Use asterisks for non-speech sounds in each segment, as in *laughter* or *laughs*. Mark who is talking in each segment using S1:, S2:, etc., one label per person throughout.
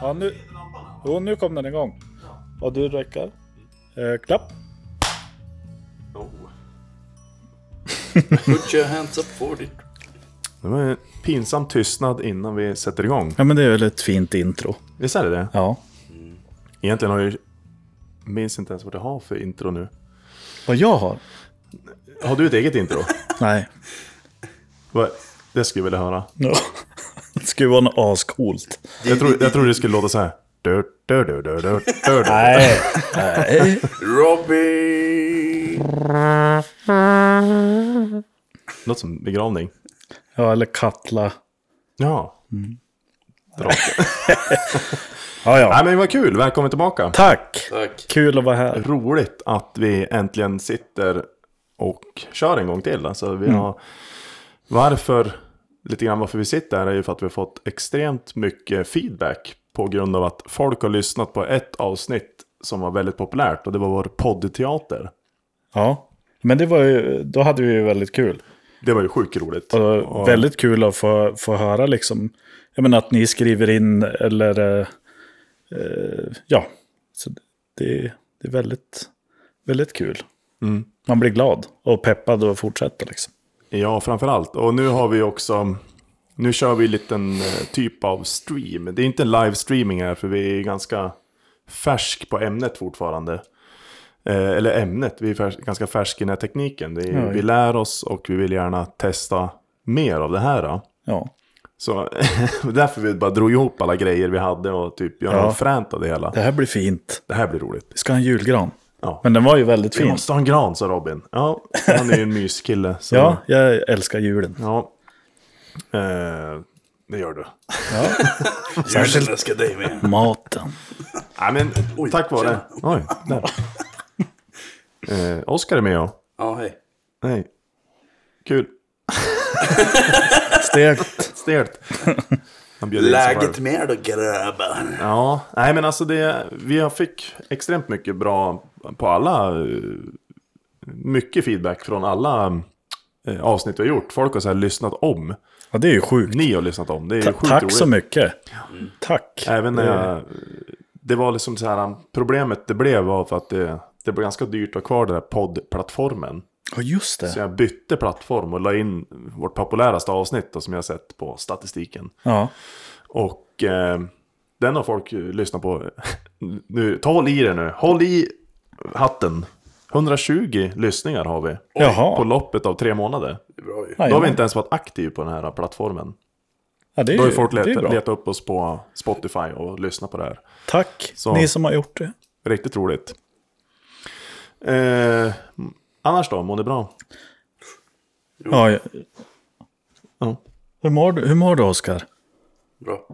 S1: Ja, nu, jo, nu kom den igång. Och du räcker. Eh, klapp.
S2: Oh. Put your hands up for it.
S3: Det var en pinsam tystnad innan vi sätter igång.
S1: Ja, men det är väl ett fint intro.
S3: Visst är det det?
S1: Ja.
S3: Egentligen har jag ju... Minns inte ens vad jag har för intro nu.
S1: Vad jag har?
S3: Har du ett eget *laughs* intro?
S1: *laughs* Nej.
S3: Vad- det skulle jag vilja höra.
S1: No. Det skulle vara något ascoolt.
S3: Jag tror, jag tror det skulle låta så här. Du, du, du, du, *laughs* du, du, du.
S1: Nej. Nej.
S2: Robbie!
S3: Låter som begravning.
S1: Ja, eller Katla.
S3: Ja. Drake.
S1: Ja, ja.
S3: Nej men vad kul, välkommen tillbaka.
S1: Tack.
S2: Tack.
S1: Kul att vara här.
S3: Roligt att vi äntligen sitter och kör en gång till. Alltså, vi har, varför, lite grann varför vi sitter här är ju för att vi har fått extremt mycket feedback på grund av att folk har lyssnat på ett avsnitt som var väldigt populärt och det var vår poddteater.
S1: Ja. Men det var ju, då hade vi ju väldigt kul.
S3: Det var ju sjukt roligt.
S1: Och
S3: Och-
S1: Väldigt kul att få, få höra liksom. Jag menar att ni skriver in eller... eh, Eh, ja, så det, det är väldigt, väldigt kul.
S3: Mm.
S1: Man blir glad och peppad och fortsätter liksom.
S3: Ja, framför allt. Och nu har vi också... Nu kör vi en liten eh, typ av stream. Det är inte livestreaming här, för vi är ganska färsk på ämnet fortfarande. Eh, eller ämnet, vi är färs ganska färsk i den här tekniken. Det är,
S1: Ja, ja.
S3: Vi lär oss och vi vill gärna testa mer av det här. Då.
S1: Ja,
S3: Så *laughs* därför vi bara drog ihop alla grejer vi hade och typ gör
S1: Ja.
S3: något fränt av det hela.
S1: det här blir fint.
S3: Det här blir roligt.
S1: Vi ska ha en julgran.
S3: Ja.
S1: Men den var ju väldigt
S3: Vi
S1: fin.
S3: måste ha en gran, sa Robin. Ja, han är ju en myskille. Så.
S1: Ja, jag älskar julen.
S3: ja. Eh, det gör du.
S1: Särskilt-
S2: Julen ska dig med.
S1: Maten.
S3: Nej men,
S2: Oj,
S3: tack vare...
S2: tjena.
S3: Oj, där. *laughs* eh, Oskar är med ja.
S2: Ja, hej.
S3: Nej. Kul.
S1: Stekt.
S3: Stelt. *laughs* Han bjöd in sig
S2: Läget
S3: själv.
S2: med er då grabbar?
S3: Ja, nej men alltså det... Vi har fick extremt mycket bra på alla... eh, Mycket feedback från alla eh, avsnitt vi har gjort. Folk har så här lyssnat om.
S1: Ja, det är ju sjukt.
S3: Ni har lyssnat om. Det är
S1: Ta-
S3: sjukt
S1: tack
S3: roligt.
S1: så mycket. Tack.
S3: Även när jag, det var liksom så här, problemet det blev var för att det, det blev ganska dyrt att ha kvar den här poddplattformen.
S1: Ja, just
S3: Så
S1: det.
S3: jag bytte plattform och la in vårt populäraste avsnitt då, som jag sett på statistiken.
S1: Ja.
S3: Och eh, den har folk eh, lyssnat på. *laughs* nu, ta håll i det nu. Håll i hatten. 120 lyssningar har vi. På
S1: Jaha.
S3: loppet av tre månader.
S2: Det är bra ju.
S1: Nej,
S3: Då har vi
S1: men-
S3: inte ens varit aktiva på den här plattformen.
S1: Ja, det är
S3: Då har
S1: ju
S3: ju folk
S1: det är ju
S3: let,
S1: bra.
S3: letat upp oss på Spotify och lyssnat på det här.
S1: Tack,
S3: Så.
S1: ni som har gjort det.
S3: Riktigt roligt. Eh, annars då, mår ni bra?
S1: Ja, jag-
S3: Ja.
S1: hur, mår du, hur mår du, Oskar?
S2: Bra.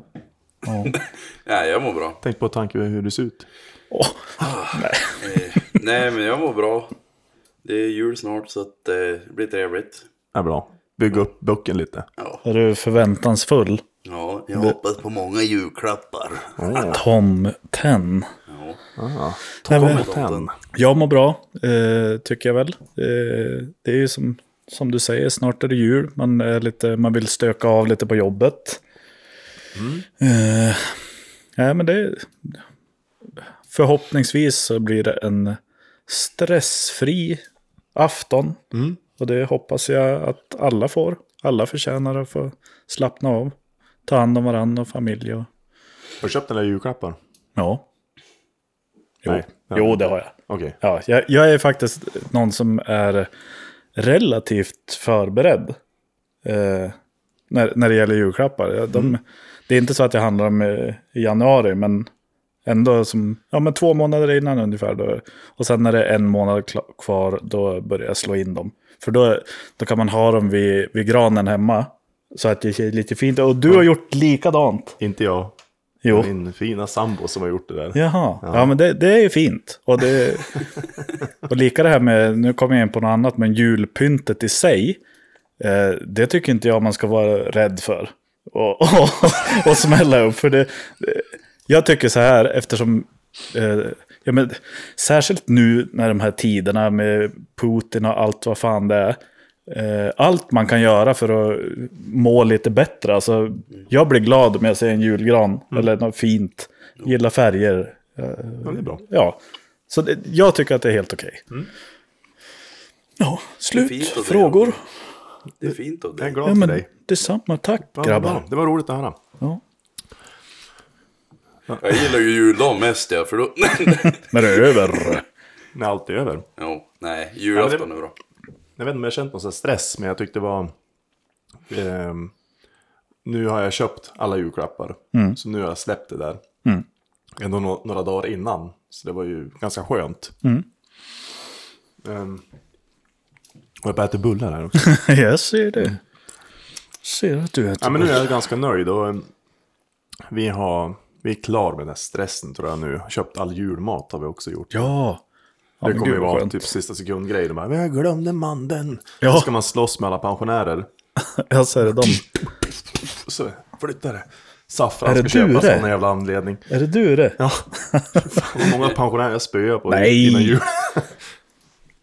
S1: Ja.
S2: *laughs* Nej, jag mår bra.
S3: Tänk på tanke hur du ser ut.
S1: Åh,
S2: Eh, Nej, men jag mår bra. Det är jul snart så att eh, det blir trevligt.
S3: Är bra. Bygg upp böcken lite.
S2: Ja,
S1: är du förväntansfull?
S2: ja jag hoppas på många julklappar.
S1: Tom Ten.
S2: Ja.
S1: Nej, men,
S3: Kommer ten.
S1: jag mår bra, eh, tycker jag väl. Eh, det är ju som, som du säger, snart är det jul. Man, är lite, man vill stöka av lite på jobbet. Eh, nej, men det, förhoppningsvis så blir det en stressfri afton. Och det hoppas jag att alla får. Alla förtjänar att få slappna av. Ta hand om varandra och familj. Och,
S3: Har du köpt några julklappar?
S1: ja. Jo.
S3: Nej. Ja.
S1: jo, det har jag.
S3: Okej.
S1: Ja, jag, jag är faktiskt någon som är relativt förberedd eh, när, när det gäller julklappar. Jag- De, Det är inte så att jag handlar om eh, i januari, men ändå som ja, men två månader innan ungefär. Då. Och sen när det är en månad kla- kvar, då börjar jag slå in dem. För då, då kan man ha dem vid, vid granen hemma. Så att det ser lite fint ut. Och du har gjort likadant.
S3: Inte jag.
S1: Jo.
S3: Min fina sambo som har gjort det där.
S1: Jaha, ja, men det, det är ju fint. Och, det, och lika det här med, nu kommer jag in på något annat, men julpyntet i sig, eh, det tycker inte jag man ska vara rädd för. Och, *laughs* och, och smälla upp. För det, eh, jag tycker så här, eftersom, eh, ja, men, särskilt nu när de här tiderna med Putin och allt vad fan det är, eh, allt man kan göra för att må lite bättre. Alltså, jag blir glad om jag ser en julgran eller något fint. Gillar färger.
S3: Ja, det är bra.
S1: Ja. Så det, jag tycker att det är helt okej. Ja,
S2: fint att
S1: slut.
S2: säga.
S1: Frågor?
S2: Det är fint av
S3: Jag är
S2: dig.
S3: glad
S1: Ja,
S3: för
S1: men,
S3: dig.
S1: detsamma. Tack
S3: Ja,
S1: grabbar.
S3: bra. Det var roligt att höra.
S1: Ja.
S2: Jag gillar ju juldagen mest ja, för då... *laughs*
S1: Men det är
S3: *laughs*
S1: över.
S3: När allt är över.
S2: jo, nej, julafton
S3: det-
S2: är bra.
S3: Jag vet inte om jag har känt någon sån här stress, men jag tyckte det var... ehm, nu har jag köpt alla julklappar,
S1: Mm.
S3: så nu har jag släppt det där. Ändå nå- några dagar innan, så det var ju ganska skönt.
S1: Mm.
S3: Ehm, och jag börjar äta bullar här också.
S1: jag ser det. Ser att du äter.
S3: ja, men nu är jag ganska nöjd och ehm, vi, har, vi är klar med den här stressen tror jag nu. Köpt all julmat har vi också gjort.
S1: Ja. Ja,
S3: Det
S1: men
S3: kommer
S1: gud,
S3: ju
S1: vad
S3: vara
S1: skönt.
S3: typ sista sekund-grej. De bara, "Men jag glömde mandeln.
S1: Ja.
S3: Då ska man slåss med alla pensionärer.
S1: Jag ser
S3: *laughs*
S1: det. De.
S3: Och så flyttar det. Saffran
S1: Är det
S3: ska köpas
S1: Dure?
S3: av någon jävla anledning.
S1: Är det du det?
S3: Ja. Vad många pensionärer jag spöar på
S1: Nej.
S3: innan jul.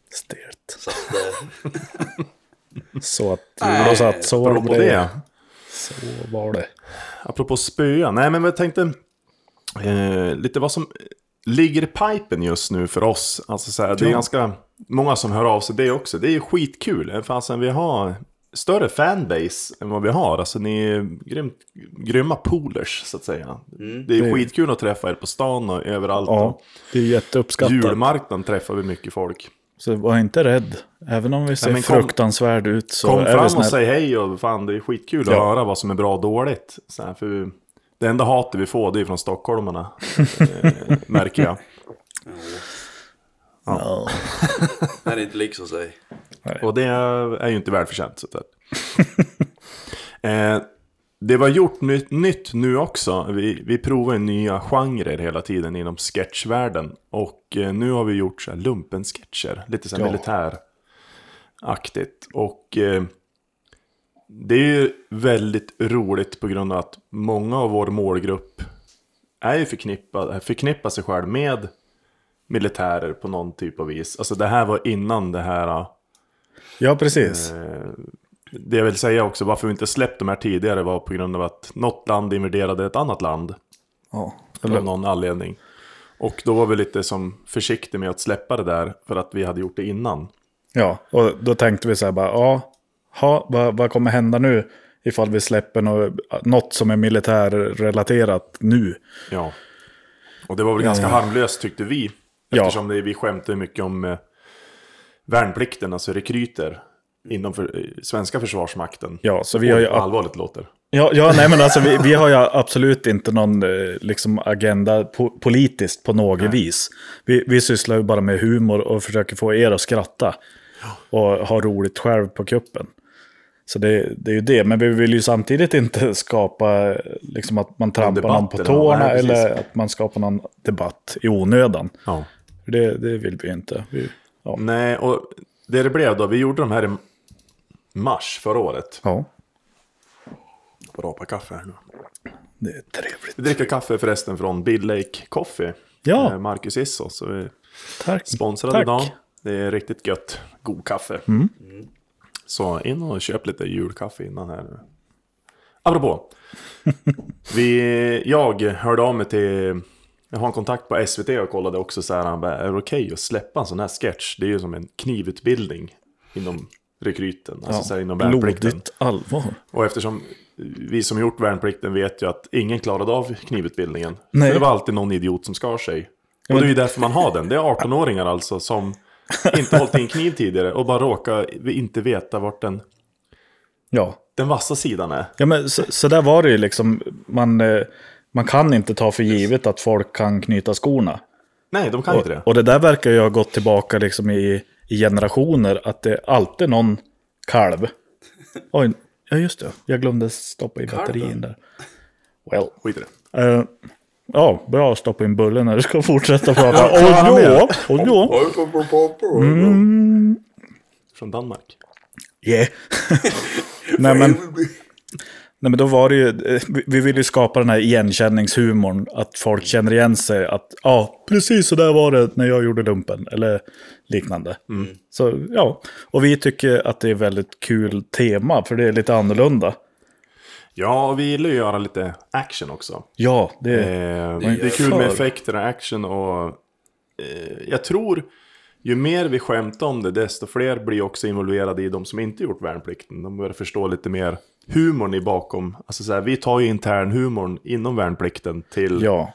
S1: Stelt.
S2: Så att, eh,
S1: Så att
S2: Nej,
S1: Jonas att så
S3: Apropå
S1: var det.
S3: det.
S1: Så var det.
S3: Apropå spöa. Nej, men jag tänkte eh, lite vad som ligger i pipen just nu för oss. Alltså så här, det är ganska många som hör av sig det också. Det är ju skitkul. Eh, Fasen, vi har större fanbase än vad vi har. Alltså ni är grymt, grymma polers så att säga. Mm. Det är skitkul att träffa er på stan och överallt.
S1: Ja, det är
S3: och
S1: jätteuppskattat.
S3: julmarknaden träffar vi mycket folk.
S1: Så var inte rädd. Även om vi ser
S3: men kom-
S1: fruktansvärd ut så
S3: Kom
S1: är vi
S3: fram och
S1: snälla.
S3: säg hej och fan det är skitkul att
S1: Ja.
S3: höra vad som är bra och dåligt. Så här, för det enda hatet vi får det är
S1: *laughs*
S3: från stockholmarna. eh, märker jag.
S1: Ja.
S2: det är inte liksom sig.
S3: Och det är ju inte välförtjänt. Så att, *laughs* eh, det var gjort nytt, nytt nu också. Vi, vi provar ju nya genrer hela tiden inom sketchvärlden. Och eh, nu har vi gjort så här lumpensketcher. Lite så här
S1: Ja.
S3: militäraktigt. Och eh, det är ju väldigt roligt på grund av att många av vår målgrupp är ju förknippad, förknippar sig själv med militärer på någon typ av vis. Alltså det här var innan det här eh,
S1: ja, precis.
S3: det jag vill säga också, varför vi inte släppt de här tidigare var på grund av att något land invaderade ett annat land.
S1: Ja.
S3: Av någon anledning. Och då var vi lite som försiktiga med att släppa det där för att vi hade gjort det innan.
S1: Ja, och då tänkte vi så här bara, ja, ha, vad, vad kommer hända nu ifall vi släpper något, något som är militärrelaterat nu?
S3: Ja. Och det var väl ganska harmlöst tyckte vi.
S1: Ja.
S3: Eftersom det, vi skämtade mycket om eh, värnplikten, alltså rekryter. Inom för, eh, svenska försvarsmakten.
S1: Ja, så vi har ju
S3: Oj, vad allvarligt låter.
S1: Ja, ja nej men alltså vi, vi har ju absolut inte någon eh, liksom, agenda po- politiskt på något vis. Vi, vi sysslar ju bara med humor och försöker få er att skratta. Och ha roligt själv på kuppen. Så det, det är ju det, men vi vill ju samtidigt inte skapa eh, liksom, att man trampar någon
S3: debatt
S1: på tårna
S3: eller något. Nej, precis.
S1: eller att man skapar någon debatt i onödan.
S3: Ja.
S1: För Det, det vill vi ju inte. Vi, ja.
S3: Nej, och det det blev då, vi gjorde de här i mars förra året.
S1: ja,
S3: Får rapa kaffe här nu.
S1: det är trevligt.
S3: Vi dricker kaffe förresten från Bill Lake Coffee.
S1: Ja.
S3: Eh, Marcus Isso, så vi är
S1: Tack.
S3: sponsrade
S1: Tack. Mm.
S3: idag. Det är riktigt gött. God kaffe. Så in och köp lite julkaffe innan här nu.
S1: *laughs*
S3: Apropå. vi, jag hörde av mig till... Jag har en kontakt på SVT och kollade också så här. Han bara, är det okej att släppa en sån här sketch? Det är ju som en knivutbildning inom rekryten. Alltså så här inom värnplikten.
S1: Blodigt allvar.
S3: Och eftersom vi som gjort värnplikten vet ju att ingen klarade av knivutbildningen.
S1: Nej.
S3: För det var alltid någon idiot som skar sig. Och det är ju därför man har den. Det är 18-åringar alltså som inte hållit i en kniv tidigare och bara råkar inte veta vart den,
S1: Ja.
S3: den vassa sidan är.
S1: Ja, men så, så där var det ju liksom. Man, eh, man kan inte ta för givet att folk kan knyta skorna.
S3: Nej, de kan ju inte det.
S1: Och det där verkar ju ha gått tillbaka liksom i, i generationer. Att det är alltid någon
S3: *laughs*
S1: kalv. Oj, ja just det. Jag glömde stoppa i batterien där. Well.
S3: Skit i det.
S1: eh, ja, bra att stoppa in bullen när du ska fortsätta prata. Åh ja, åh ja.
S2: Mm.
S3: Från Danmark. *laughs*
S1: Yeah. Nej men. Nej, men då var det ju, eh, vi- vi ville ju skapa den här igenkänningshumorn, att folk känner igen sig, att ja, precis så där var det när jag gjorde lumpen, eller liknande.
S3: Mm.
S1: Så ja, och vi tycker att det är väldigt kul tema, för det är lite annorlunda.
S3: Ja, och vi gillar ju att göra lite action också.
S1: Ja, det
S3: Eh,
S1: är...
S3: det är kul
S1: för.
S3: med effekter och action och eh, jag tror ju mer vi skämtar om det desto fler blir också involverade i de som inte gjort värnplikten. De börjar förstå lite mer humorn i bakom. Alltså så här, vi tar ju intern humorn inom värnplikten till
S1: Ja,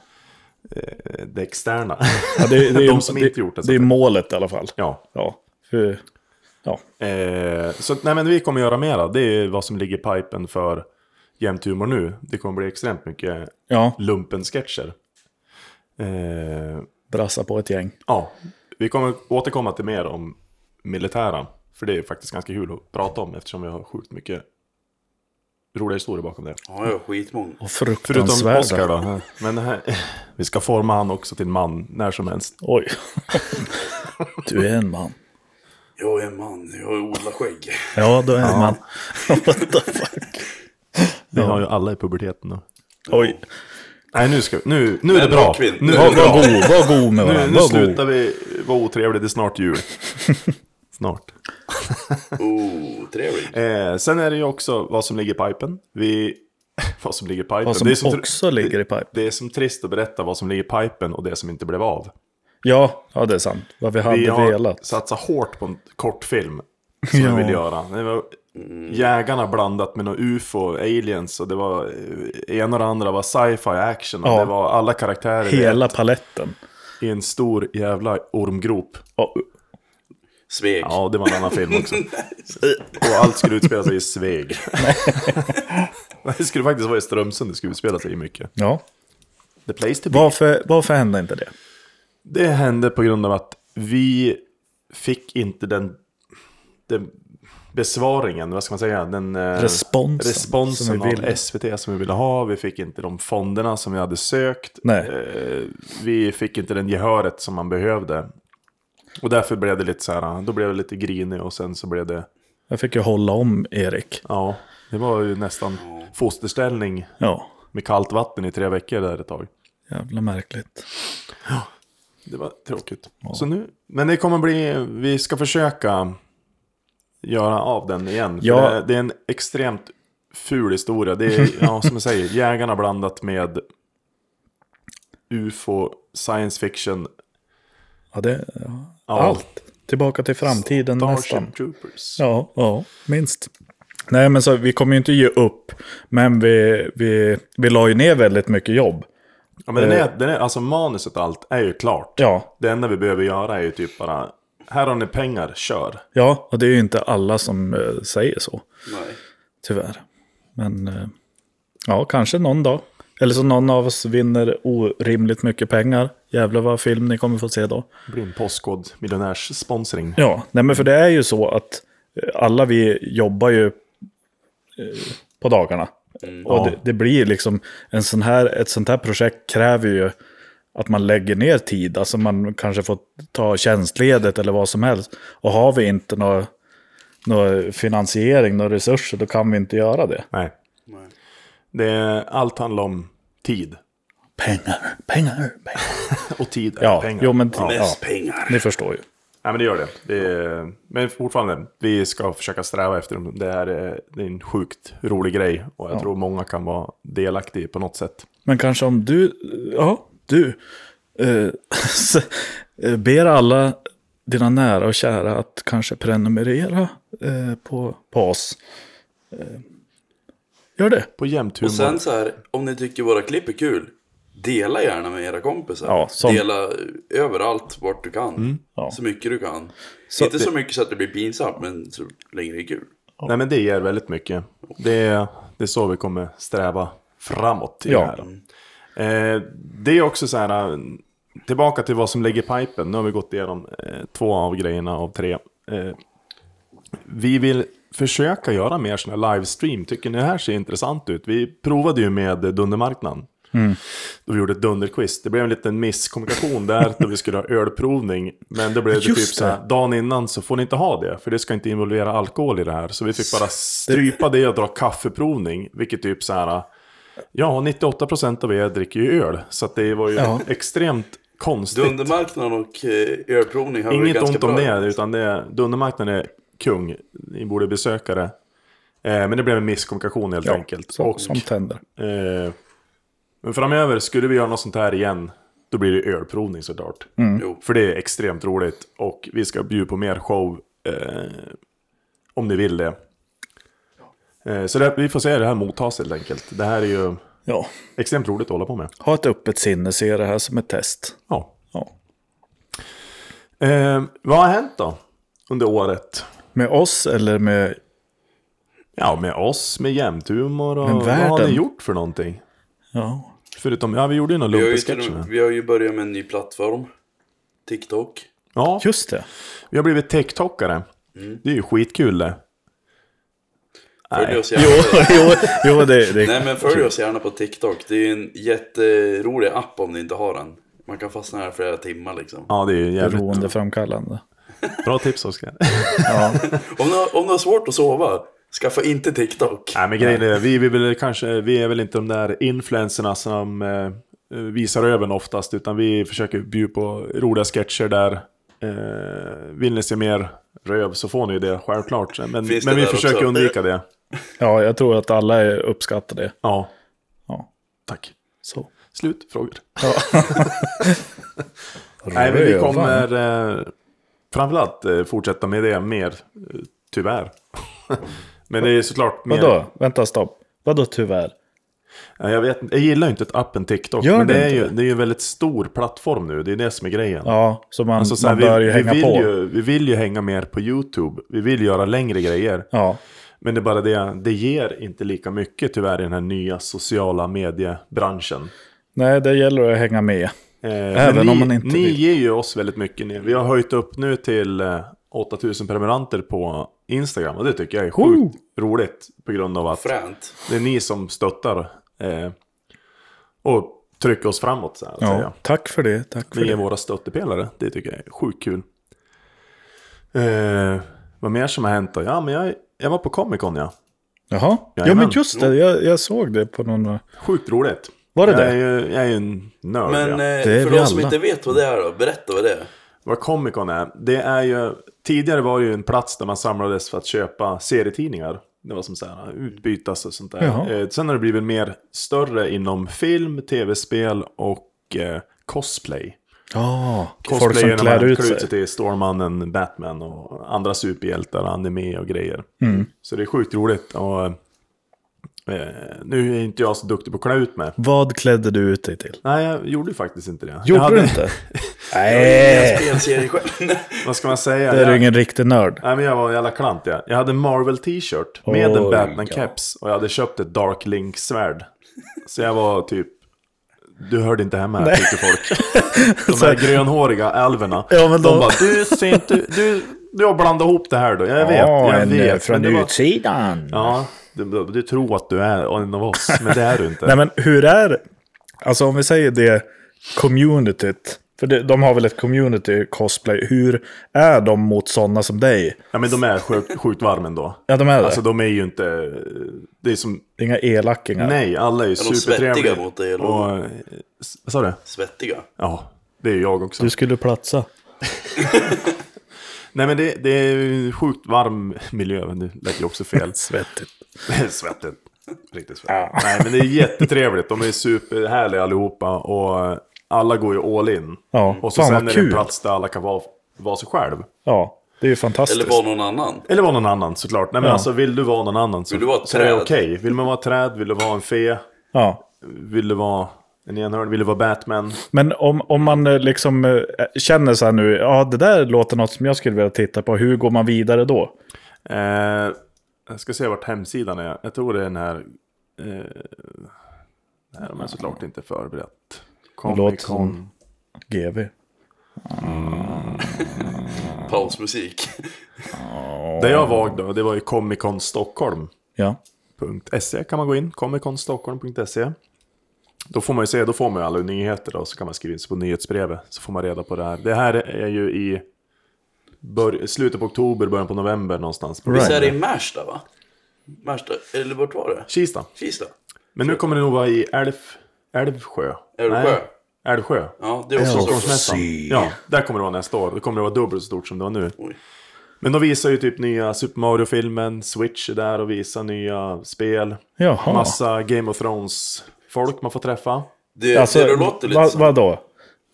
S3: eh, det externa.
S1: ja det,
S3: *laughs*
S1: det, är-
S3: de som inte gjort det.
S1: det.
S3: Så
S1: Det är
S3: att-
S1: målet i alla fall.
S3: ja.
S1: Ja, för, ja.
S3: Eh, så att, nej, men vi kommer göra mera. Det är vad som ligger i pipen för jämt humor nu. Det kommer bli extremt mycket
S1: ja
S3: lumpen-sketcher. Eh,
S1: brassa på ett gäng.
S3: Ja, vi kommer återkomma till mer om militära. För det är faktiskt ganska kul att prata om eftersom vi har sjukt mycket roliga historier bakom det.
S2: Ja, jag har skitmånga.
S1: Och
S3: Förutom
S1: fruktansvärda.
S3: Oscar då. Men det här, *laughs* vi ska forma han också till man när som helst.
S1: Oj. *laughs* Du är en man.
S2: Jag är en man, jag odlar skägg.
S1: Ja, du är en man. What the fuck?
S3: Vi har ju alla i puberteten då.
S1: Oj.
S3: Nej, nu ska vi, nu, nu är
S2: Men
S3: det bra.
S2: rockvin-
S3: Nu,
S1: Var,
S3: är det
S1: var,
S3: bra.
S1: god, var god med
S3: nu,
S1: varandra.
S3: nu
S1: Var
S3: slutar
S1: god.
S3: vi vara otrevliga, det är snart jul. *laughs* Snart.
S2: Oh, trevligt.
S3: Eh, sen är det ju också vad som ligger i pipen. Vi, *laughs* vad som ligger i pipen.
S1: Vad
S3: det är
S1: som
S3: så tr-
S1: också ligger i pipe.
S3: Det är som trist att berätta vad som ligger i pipen och det som inte blev av.
S1: Ja, ja, det är sant. Vad vi hade
S3: Vi har
S1: velat.
S3: satsat hårt på en kortfilm som
S1: Ja.
S3: vi vill göra. Det var jägarna blandat med något ufo, aliens och det var eh, ena och det andra var sci-fi action. Och
S1: Ja.
S3: det var alla karaktärer i-
S1: Hela paletten.
S3: i en stor jävla ormgrop.
S1: Ja,
S2: Svek.
S3: Ja, det var en annan film också. och allt skulle utspela sig
S1: *laughs*
S3: i Sveg. *laughs* det skulle faktiskt vara i Strömsund det skulle utspela sig i mycket.
S1: Ja.
S3: The place to be.
S1: Varför, varför hände inte det?
S3: Det hände på grund av att vi fick inte den, den besvaringen, vad ska man säga? Den, eh,
S1: Responsen som
S3: responsen
S1: vi ville.
S3: av SVT som vi ville ha. Vi fick inte de fonderna som vi hade sökt.
S1: Nej.
S3: Eh, vi fick inte den gehöret som man behövde. Och därför blev det lite så här, då blev det lite grinig och sen så blev det,
S1: Jag fick ju hålla om Erik.
S3: ja, det var ju nästan fosterställning
S1: Ja,
S3: med kallt vatten i tre veckor där ett tag.
S1: jävla märkligt.
S3: Det var tråkigt. Så nu, men det kommer bli, vi ska försöka göra av den igen. För
S1: Ja.
S3: Det, det är en extremt ful historia. Det är, ja, som
S1: *laughs*
S3: jag säger, jägarna blandat med ufo, science fiction,
S1: Ja, det, ja.
S3: Ja.
S1: Allt. Tillbaka till framtiden nästan.
S3: Starship Troopers.
S1: Ja, ja, minst. Nej, men så, vi kommer ju inte ge upp. Men vi, vi, vi la ju ner väldigt mycket jobb.
S3: Ja, men den
S1: Eh.
S3: är, den är, alltså manuset och allt är ju klart.
S1: Ja,
S3: Det enda vi behöver göra är ju typ bara, här har ni pengar, kör.
S1: ja och det är ju inte alla som eh, säger så,
S2: Nej.
S1: tyvärr. Men eh, ja, kanske någon dag. Eller så någon av oss vinner orimligt mycket pengar. Jävlar vad film ni kommer få se då.
S3: Det blir en postkod miljonärssponsring.
S1: Ja, nej men för det är ju så att eh, alla vi jobbar ju eh, på dagarna. Och
S3: Ja.
S1: det, det blir liksom, en sån här, ett sånt här projekt kräver ju att man lägger ner tid. Alltså man kanske får ta tjänstledigt eller vad som helst. Och har vi inte någon nå finansiering, några resurser, då kan vi inte göra det.
S3: Nej,
S2: Nej.
S3: det är, allt handlar om tid.
S1: Pengar, pengar, pengar.
S3: Och tid är
S1: Ja,
S3: pengar.
S1: jo men
S3: Ja.
S1: ja,
S2: Mest pengar.
S1: ni förstår ju.
S3: Nej men det gör det. det är, men fortfarande, vi ska försöka sträva efter dem. Det här är, det är en sjukt rolig grej och jag tror många kan vara delaktiga på något sätt.
S1: Men kanske om du, ja, du, eh, *laughs* s- eh, ber alla dina nära och kära att kanske prenumerera eh, på, på oss. Eh, Gör det.
S3: På jämnt humor.
S2: Och sen så här, om ni tycker våra klipp är kul, dela gärna med era kompisar.
S1: Ja, som-
S2: Dela överallt vart du kan.
S3: Mm,
S1: ja.
S2: Så mycket du kan.
S1: Så
S2: Inte
S1: det-
S2: så mycket så att det blir pinsamt, men så länge det är kul.
S3: Nej men det ger väldigt mycket. Det är, det är så vi kommer sträva framåt i
S1: Ja.
S3: det här. Eh, det är också så här, eh, tillbaka till vad som ligger i pipen. Nu har vi gått igenom eh, två av grejerna av tre. Eh, vi vill försöka göra mer sådana här livestream. Tycker ni det här ser intressant ut? Vi provade ju med eh, Dundermarknaden.
S1: Mm.
S3: Då vi gjorde ett dunderquiz. Det blev en liten
S1: *laughs*
S3: misskommunikation där då vi skulle ha ölprovning. Men det blev det
S1: Just
S3: typ så här, dagen innan så får ni inte ha det. För det ska inte involvera alkohol i det här. Så vi fick bara strypa det och dra kaffeprovning. Vilket typ så här, ja 98% av er dricker ju öl. Så att det var ju
S1: Ja.
S3: extremt konstigt.
S2: Dundermarknaden och eh, ölprovning har varit
S3: Inget
S2: ganska
S3: ont om
S2: bra.
S3: det, utan det, Dundermarknaden är kung. Ni borde besöka det. Eh, men det blev en misskommunikation helt enkelt.
S1: Så,
S3: och,
S1: som tänder.
S3: eh, men framöver, skulle vi göra något sånt här igen, då blir det ölprovning såklart.
S1: Mm.
S2: Jo.
S3: För det är extremt roligt och vi ska bjuda på mer show eh, om ni vill det. Eh, så det, vi får se hur det här mottas helt enkelt. Det här är ju
S1: Ja,
S3: extremt roligt att hålla på med.
S1: ha ett öppet sinne, se det här som ett test.
S3: Ja.
S1: Ja.
S3: Eh, vad har hänt då under året?
S1: Med oss eller med...
S3: Ja, med oss, med jämthumor och
S1: Men
S3: vad har ni
S1: världen?
S3: gjort för någonting?
S1: Ja,
S3: Förutom, ja vi gjorde ju någon
S2: Vi har, ju
S3: lumpesketch
S2: till och med-
S3: med.
S2: vi har ju börjat med en ny plattform. TikTok.
S3: Ja,
S1: just det. *laughs*
S3: vi har blivit TikTokare.
S2: Mm.
S3: Det är ju skitkul det.
S2: Följ oss gärna.
S1: Jo, jo, jo det, det
S2: Nej men
S3: typ-
S2: följ oss gärna på TikTok. Det är en jätterolig app om ni inte har den. Man kan fastna här flera timmar liksom.
S3: Ja, det är ju jävligt
S1: beroendeframkallande.
S3: bra tips Oskar. *laughs*
S2: Om du, har, om du har svårt att sova, skaffa inte TikTok.
S3: Nej men grejen är, vi, vi, vill, kanske, vi är väl inte de där influencerna som eh, visar öven oftast. Utan vi försöker bjuda på roliga sketcher där. Eh, vill ni se mer röv så får ni ju det, självklart. Men, men vi
S2: Finns det där
S3: försöker
S2: också?
S3: undvika det.
S1: Ja, jag tror att alla är- uppskattar det.
S3: Ja,
S1: Ja,
S3: tack.
S1: så.
S3: Slut, frågor. *laughs* Nej, men vi
S1: Rövan.
S3: kommer eh, framförallt eh, fortsätta med det mer, eh, tyvärr. *laughs* men det är såklart mer...
S1: Vadå? Vänta, stopp. Vadå tyvärr?
S3: Ja, Jag, vet, inte. jag gillar ju inte att appen TikTok,
S1: Gör
S3: men
S1: du
S3: det är,
S1: inte
S3: ju,
S1: det?
S3: det är ju en väldigt stor plattform nu. Det är det som är grejen.
S1: Ja, så man,
S3: Alltså, så här,
S1: man bör ju
S3: vi,
S1: hänga
S3: vi vill
S1: på.
S3: Ju, vi vill ju hänga mer på YouTube. Vi vill göra längre grejer.
S1: Ja,
S3: Men det är bara det, det ger inte lika mycket tyvärr i den här nya sociala mediebranschen.
S1: nej, det gäller att hänga med.
S3: Eh,
S1: Även
S3: men ni,
S1: om man inte
S3: ni
S1: vill.
S3: ger ju oss väldigt mycket. Ni- Vi har höjt upp nu till eh, 8000 prenumeranter på Instagram. Och det tycker jag är sjukt
S1: Woo!
S3: roligt. På grund av att
S2: Fränt.
S3: det är ni som stöttar. Eh, och trycker oss framåt så här att säga.
S1: Ja, tack för det. Tack för
S3: Ni är
S1: det.
S3: våra stöttepelare. Det tycker jag är sjukt kul. Eh, vad mer som har hänt då? Ja, men jag, jag var på Comic Con ja.
S1: Jaha. Ja,
S3: Jajamän.
S1: men just det. Jag, jag såg det på någon...
S3: Sjukt roligt.
S1: Var det
S3: jag
S1: det?
S3: Är ju, jag är ju en nörd.
S2: Men
S3: ja.
S2: eh,
S1: Det är
S2: för
S1: vi
S2: de som
S1: alla.
S2: inte vet vad det är då, berätta vad det är.
S3: Vad Comic Con är, det är ju... Tidigare var det ju en plats där man samlades för att köpa serietidningar. Det var som så här, utbytas och sånt
S1: Jaha.
S3: där. Eh, sen har det blivit mer större inom film, tv-spel och eh, cosplay.
S1: Ja, folk
S3: Cosplayer
S1: som
S3: när man
S1: klär ut sig.
S3: sig till Stormannen, Batman och andra superhjältar, anime och grejer.
S1: Mm.
S3: Så det är sjukt roligt. Och, eh, nu är inte jag så duktig på att klä ut mig.
S1: Vad klädde du ut dig till?
S3: Nej, jag gjorde ju faktiskt inte det. jag
S1: Gjorde
S3: hade,
S1: du
S3: *laughs*
S1: inte?
S2: Jag
S1: Nej, *laughs*
S2: spelserie själv.
S3: Vad ska man säga?
S1: det är
S3: jag,
S1: du ingen riktig nörd.
S3: Nej men jag var en jävla klant jag. Jag hade en Marvel t-shirt med en
S1: Oj,
S3: Batman-keps. Och jag hade köpt ett Dark Link-svärd. Så jag var typ... Du hörde inte hemma här
S1: *laughs*
S3: tyckte folk. De här grönhåriga alverna.
S1: Ja, men
S3: de
S1: de-
S3: bara, du ser inte... Du, du har blandat ihop det här då. Jag vet,
S1: Ja,
S3: jag
S1: en, eh,
S3: vet.
S1: från
S3: men det var-
S1: utsidan.
S3: Ja, du, du, du tror att du är en av oss, men det är du
S1: *laughs*
S3: inte.
S1: Nej, men hur är... Alltså om vi säger det communityt. För det, de har väl ett community cosplay. Hur är de mot sådana som dig?
S3: Ja, men de är sjukt, sjukt varma ändå.
S1: Ja, de är det.
S3: Alltså de är ju inte... Det är som...
S1: Det är Inga elackingar.
S3: Nej, alla är ju
S2: de
S3: supertrevliga.
S2: svettiga mot dig, eller?
S3: Och, eh, s- Vad sa du?
S2: Svettiga.
S3: Ja, det är ju jag också.
S1: Du skulle platsa.
S3: Nej men det, det är ju en sjukt varm miljö, men det lät ju
S2: *laughs*
S3: också fel.
S1: Svettigt.
S3: Det är Svettigt. Riktigt svettigt. Nej men det är jättetrevligt, de är superhärliga allihopa och alla går ju all in.
S1: Ja,
S3: och så
S1: fan
S3: sen
S1: vad
S3: är det en
S1: kul.
S3: plats där alla kan vara, vara sig själv.
S1: Ja, det är ju fantastiskt.
S2: Eller var någon annan.
S3: Eller vara någon annan såklart. Nej men
S1: Ja.
S3: alltså vill du vara någon annan så,
S2: Vill du vara ett
S3: så är det
S2: träd?
S3: okej. Vill man vara ett träd, vill du vara en fe,
S1: Ja.
S3: vill du vara en enhörning, vill du vara Batman.
S1: Men om, om man eh, liksom eh, känner så här nu, ja det där låter något som jag skulle vilja titta på, hur går man vidare då?
S3: Eh, jag ska se vart hemsidan är. Jag tror det är den här... Eh, nej, de är såklart inte förberett.
S1: låter
S3: Comic
S1: som-
S3: Con.
S1: GV.
S2: Pausmusik.
S3: Där jag var då, det var ju Comic Con Stockholm.
S1: Ja.
S3: .se kan man gå in, comicconstockholm.se. Då får man ju se, då får man ju alla nyheter och så kan man skriva in sig på nyhetsbrevet. Så får man reda på det här. Det här är ju i bör- slutet på oktober, början på november någonstans.
S1: Right.
S2: Visst är det i Märsta va? Märsta, eller vart var det?
S3: Kista.
S2: Kista?
S3: Men nu kommer det nog vara i Älv... Älvsjö.
S2: Älvsjö.
S3: Nej, Älvsjö.
S2: Ja, det är också Stockholms.
S3: Stockholmsmässan. Ja, där kommer det vara nästa år. Då kommer det vara dubbelt så stort som det var nu.
S2: Oj.
S3: Men de visar ju typ nya Super Mario-filmen, Switch är där och visar nya spel.
S1: Jaha.
S3: Massa Game of Thrones-folk man får träffa.
S2: Det,
S1: Alltså,
S2: det låter lite
S1: vad,
S2: *laughs* som...
S1: vadå?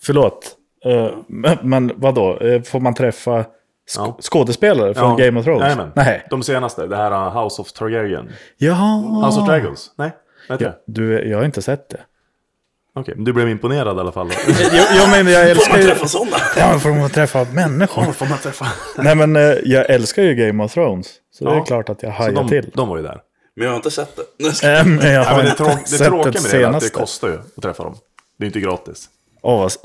S1: Förlåt. Eh, men- Men vadå? Eh, Får man träffa sk-
S3: Ja.
S1: skådespelare från Game of Thrones?
S3: Jajamän.
S1: Nej.
S3: De senaste, det här uh, House of Targaryen.
S1: Jaha.
S3: House of Dragons? Nej, vet jag.
S1: Du, jag har inte sett det.
S3: Okej, men du blev imponerad i alla *laughs* fall.
S1: Jo, jag menar, jag älskar
S2: Man
S1: ju...
S2: träffar sådana!
S1: Ja, får man träffa människor?
S3: får man träffa?
S1: Nej, men eh, jag älskar ju Game of Thrones. Så det
S3: Ja.
S1: är klart att jag
S3: Så
S1: hajar
S3: Alltså, de,
S1: till.
S3: de var ju där.
S2: Men jag har inte sett det.
S1: Eh, Men jag
S3: Nej,
S1: har
S3: men det
S1: inte
S3: tråk, det
S1: sett
S3: tråkiga
S1: det
S3: med det är att det
S1: senaste.
S3: kostar ju att träffa dem. Det är inte gratis.
S1: Åh, vad s-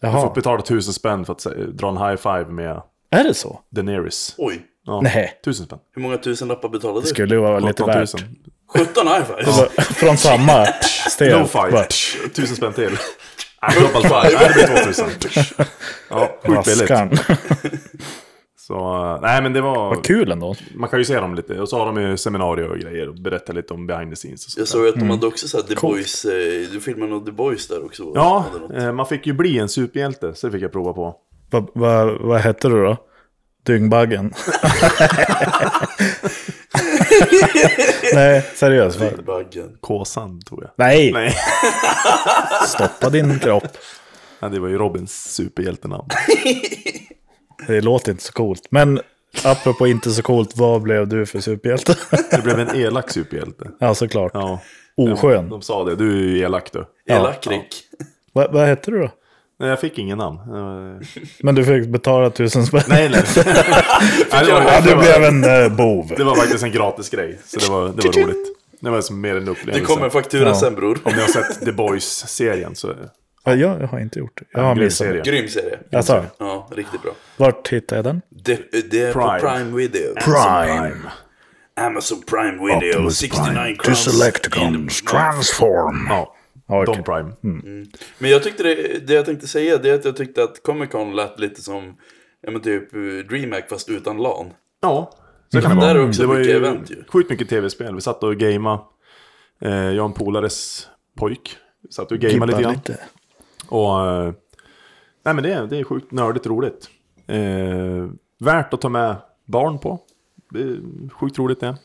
S3: Du får
S1: Jaha.
S3: betala tusen spänn för att se- dra en high five med
S1: Är det så?
S3: Daenerys.
S2: Oj,
S3: Ja,
S1: Nej.
S3: Tusen spänn.
S2: hur många tusenlappar betalade
S1: Det
S2: du?
S1: skulle ju vara lite
S3: 18 000.
S1: värt.
S2: Sjutton 17 high-fives?
S1: Från
S3: *laughs*
S1: samma steg.
S3: No five.
S1: Bara,
S3: Psh, Tusen spänn till. Nej, Double five. Nej, det blir 2000. Psh. Ja, sjukt billigt.
S1: Askan.
S3: Så, eh, nej men det var...
S1: Vad *laughs* kul ändå.
S3: Man kan ju se dem lite. Och så har de ju seminarier och grejer och berättar lite om behind the scenes och sånt
S2: Jag
S3: där.
S2: såg att de hade också såhär The Boys, eh, du filmade någon The Boys där också? va?
S3: Ja,
S2: Eller något.
S3: eh, man fick ju bli en superhjälte, så det fick jag prova på.
S1: Vad vad- vad hette du då?
S3: *laughs*
S1: Dyngbaggen? Nej, seriöst. va?
S2: Baggen.
S3: Kåsan, tror jag.
S1: Nej,
S3: Nej,
S1: stoppa din kropp.
S3: ja, det var ju Robins superhjältenamn.
S1: Det låter inte så coolt. Men apropå inte så coolt, vad blev du för superhjälte? *laughs*
S3: Det blev en elak superhjälte.
S1: ja, såklart.
S3: Ja.
S1: Oskön.
S3: De sa det, du är ju elak du.
S2: Elak Rick.
S1: Va- vad hette du då?
S3: Nej, jag fick ingen namn. Eh,
S1: Men du fick betala tusen spänn.
S3: Nej, nej. nej det,
S1: *laughs*
S3: var,
S1: Ja,
S3: det,
S1: du blev
S3: var,
S1: en eh, bov.
S3: det var faktiskt en gratis grej, så det var, det var roligt. Det var som mer en upplevelse.
S2: Det kommer en faktura
S1: Ja.
S2: sen bror.
S3: Om ni har sett The Boys-serien så...
S1: Ja, jag, jag har inte gjort det. Jag har
S3: Grym
S1: missat det.
S3: serie.
S2: Grym serie.
S1: Alltså,
S2: Ja, riktigt bra.
S1: vart hittade jag den?
S2: Det, det är
S3: Prime.
S2: på Prime Video.
S4: Prime.
S2: Amazon Prime Video, 69 crowns.
S4: Deselecticons transform.
S3: Ja,
S1: Ja, okej. Mm.
S3: Don Prime.
S2: Men jag tyckte det, det jag tänkte säga det är att jag tyckte att Comic Con lät lite som ja, men typ eh, DreamHack fast utan LAN.
S3: Ja, så kan det
S2: Där
S3: vara.
S2: är också
S3: det var
S2: mycket
S3: ju
S2: event ju.
S3: sjukt mycket tv-spel. Vi satt och gamea. Eh, jag och en polares pojk satt och gamea lite
S1: Gibba
S3: grann. Och, eh, nej men det, det är sjukt nördigt roligt. Eh, värt att ta med barn på. Det är sjukt roligt det.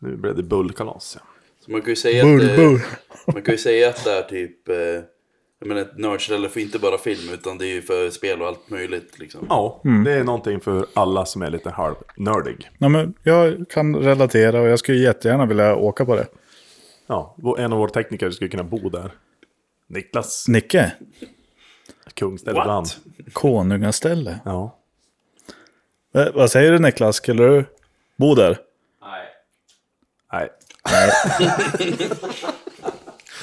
S3: Nu blev det bullkalas. ja.
S2: Så man kan ju säga
S1: Bull,
S2: att,
S1: bull.
S2: eh, man kan ju säga att det är typ eh, jag menar, ett nördställe för inte bara film utan det är ju för spel och allt möjligt liksom.
S3: Ja, det är någonting för alla som är lite halvnördig.
S1: Nej, men jag kan relatera och jag skulle jättegärna vilja åka på det.
S3: Ja, vår- en av våra tekniker skulle kunna bo där. Niklas
S1: Nicke,
S3: Kungställe brand.
S2: What?
S1: konungaställe.
S3: Ja.
S1: Eh, vad säger du Niklas, skulle du bo där?
S3: Nej,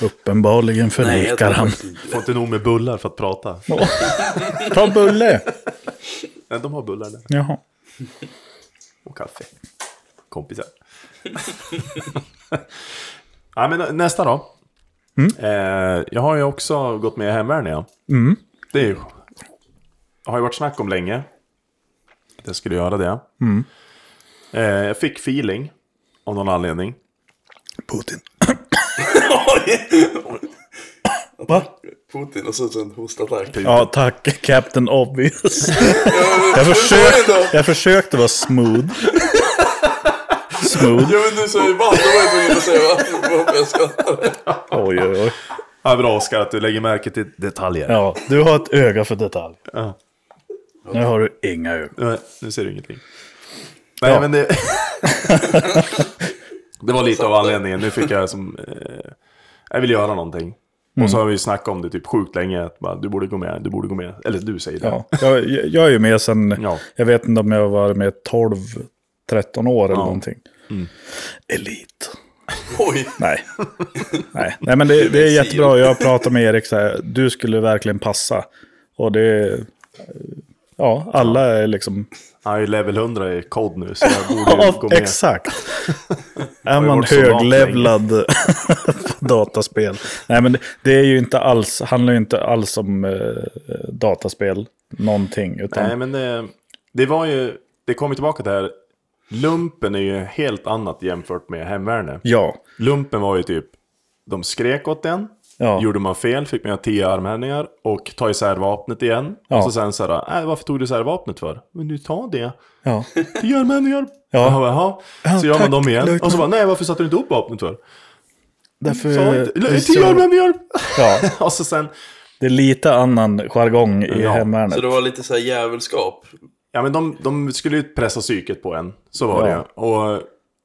S1: Uppenbarligen
S2: Nej, jag
S1: förnekar
S2: tror
S1: han.
S2: faktiskt inte.
S3: får inte nog med bullar för att prata.
S1: Ta bulle!
S3: Nej, de har bullar där.
S1: Jaha.
S3: Och kaffe. Kompisar. *laughs* ja, men nästa då. Eh, jag har ju också gått med i hemvärnet. Ja. Det är ju, har ju varit snack om länge. Att jag skulle göra det. Eh, jag fick feeling. Av någon anledning.
S1: Putin.
S2: *laughs* Va? Putin och så sen hostattack.
S1: Ja, tack Captain
S2: *laughs*
S1: Obvious. jag, försökte, jag försökte vara smooth. Smooth.
S2: Ja men du sa ju bara, då var jag tvungen att säga vad vad jag skrattade.
S1: Oj, oj, oj.
S3: Ja, bra Oskar att du lägger märke till detaljer.
S1: Ja, du har ett öga för detalj.
S3: Ja.
S1: Nu har du inga ögon.
S3: Nej, Eh, Nu ser du ingenting. Nej,
S1: Ja. *laughs*
S3: men det... det var lite av anledningen. Nu fick jag som... Eh, jag vill göra någonting. Och
S1: Mm.
S3: så har vi ju snackat om det typ sjukt länge. Att bara, du borde gå med, du borde gå med. Eller du säger det.
S1: Ja, jag, jag är ju med sen,
S3: Ja.
S1: jag vet inte om jag har varit med 12-13 år eller någonting.
S3: Mm.
S1: Elit.
S2: Oj,
S1: Nej. *laughs* Nej. Nej, men det, det är jättebra. Jag pratade med Erik så här, du skulle verkligen passa. Och det... Ja, alla är liksom... *laughs*
S3: *laughs* Han är ju level 100 i kod nu, så jag borde ju gå med.
S1: Exakt. Är
S3: ju
S1: man
S3: varit soldat
S1: höglevlad *laughs* på dataspel? Nej, men det- det är ju inte alls, handlar ju inte alls om eh, dataspel, någonting. Utan,
S3: Nej, men det, det var ju, det kommer tillbaka till det här. Lumpen är ju helt annat jämfört med hemvärnet.
S1: Ja,
S3: Lumpen var ju typ, de skrek åt en.
S1: ja.
S3: Gjorde man fel fick man göra tio armhävningar och ta isär vapnet igen.
S1: Ja.
S3: Och så sen så här, äh, varför tog du isär vapnet för? Men du tar det.
S1: ja.
S3: Tio armhävningar.
S1: Ja.
S3: Jag bara, Jaha. Så gör man
S1: tack,
S3: dem igen. Och så
S1: löjtnant. Eh,
S3: bara, nej varför satte du inte upp vapnet för?
S1: Därför,
S3: Sa jag Mm, inte.
S1: det är
S3: "Eller,
S1: så-
S3: Tio armhävningar. *laughs*
S1: ja,
S3: Och så sen,
S1: det är lite annan jargong i
S3: Ja,
S1: hemvärnet.
S2: Så det var lite så här djävulskap.
S3: Ja men de, de skulle ju pressa psyket på en, så var
S1: Ja.
S3: det ju. Och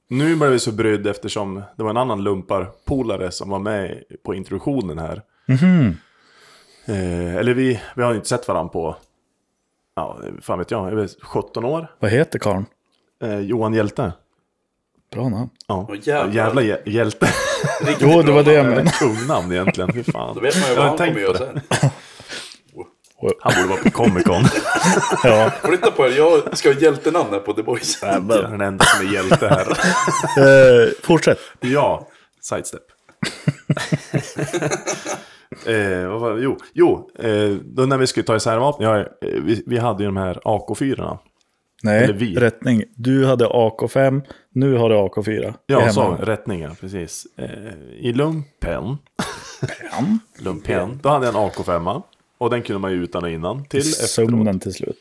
S3: nu blev vi så brydd eftersom det var en annan lumparpolare som var med på introduktionen här. Eh, eller vi, vi har ju inte sett varandra på, ja fan vet jag, jag vet, 17 år.
S1: Vad heter karln?
S3: Eh, Johan Hjälte.
S1: Bra namn.
S3: Ja,
S2: Åh, jävlar.
S3: jävla hjä- hjälte. *laughs*
S2: Riktigt
S1: Jo, det
S2: bra
S1: var det jag
S2: namn.
S1: menade.
S3: Kungnamn egentligen, fy fan.
S2: Då vet man ju
S3: Jag
S2: vad
S3: har
S2: han
S3: tänkt
S2: kommer
S3: på
S2: göra
S3: det.
S2: sen.
S3: Han borde vara på
S2: *laughs*
S3: Comic Con.
S1: Ja.
S2: Flytta på er, jag ska ha hjältenamn här på The Boys.
S3: Jag är den enda som är hjälte här.
S1: Eh, fortsätt.
S3: Ja, sidestep. eh, vad var, jo, jo eh, då när vi skulle ta isär vapen, ja, eh, vi, vi hade ju de här AK4.
S1: Nej,
S3: Eller vi.
S1: rättning. Du hade AK5, nu har du AK4.
S3: Ja,
S1: I
S3: så,
S1: hemvärnet.
S3: rättningar, precis. Eh, I lumpen, *laughs* lumpen, då hade jag en AK5. Och den kunde man ju utan och innan till efteråt.
S1: Sömnen till slut.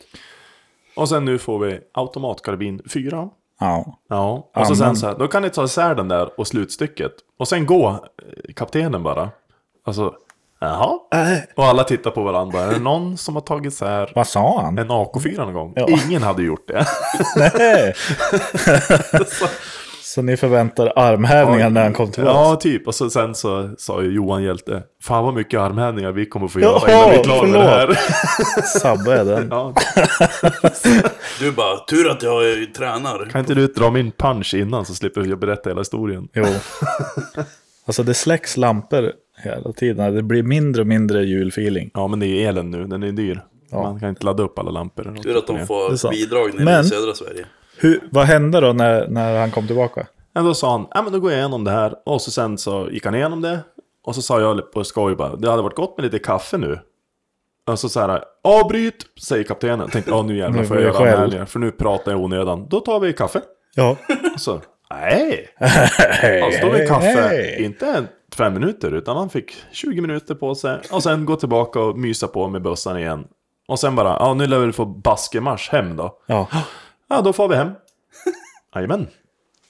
S3: Och sen nu får vi automatkarbin 4.
S1: Ja.
S3: Ja, och så
S1: Amen.
S3: sen så här, då kan ni ta isär den där och slutstycket. Och sen gå eh, kaptenen bara. Alltså, jaha?
S1: Äh.
S3: Och alla tittar på varandra. Är det någon som har tagit isär
S1: Vad sa han?
S3: en AK4 någon gång?
S1: Ja.
S3: Ingen hade
S1: *laughs*
S3: gjort det. *laughs*
S1: Nej. så ni förväntar armhävningar när han kom tillbaka?
S3: Ja, typ. Och så, sen så sa ju Johan Hjälte, fan vad mycket armhävningar vi kommer få göra
S1: Jaha,
S3: innan vi är klara med det här.
S1: förlåt. Sabba är den.
S3: *laughs* Ja,
S2: Du bara, tur att jag eh, tränar.
S3: kan inte du dra min punch innan så slipper jag berätta hela historien?
S1: Jo. Alltså det släcks lampor hela tiden. Det blir mindre och mindre julfeeling.
S3: Ja, men det är ju elen nu, den är dyr.
S1: Ja.
S3: Man kan inte ladda upp alla lampor. eller något.
S2: Tur att de
S1: Det är
S2: får
S1: sant.
S2: bidrag nere
S1: Men-
S2: i södra Sverige.
S1: Hur, vad hände då när, när han kom tillbaka?
S3: Men då sa han, ja men då går jag igenom det här. Och så sen så gick han igenom det. Och så sa jag på skoj bara, det hade varit gott med lite kaffe nu. Och så så här, avbryt, säger kaptenen. Tänkte, ja nu jävlar
S1: Nu
S3: får
S1: blir
S3: jag
S1: jag
S3: göra
S1: skäll."
S3: anmälningar, för nu pratar jag i onödan. Då tar vi kaffe.
S1: Ja.
S3: Och så, nej, han står vid kaffe, inte fem minuter, utan han fick 20 minuter på sig. Och sen gå tillbaka och mysa på med bössan igen. Och sen bara, ja nu lär vi få baskemarsch hem då.
S1: Ja.
S3: Ja, då får
S1: *laughs*
S3: vi hem. Jajamän.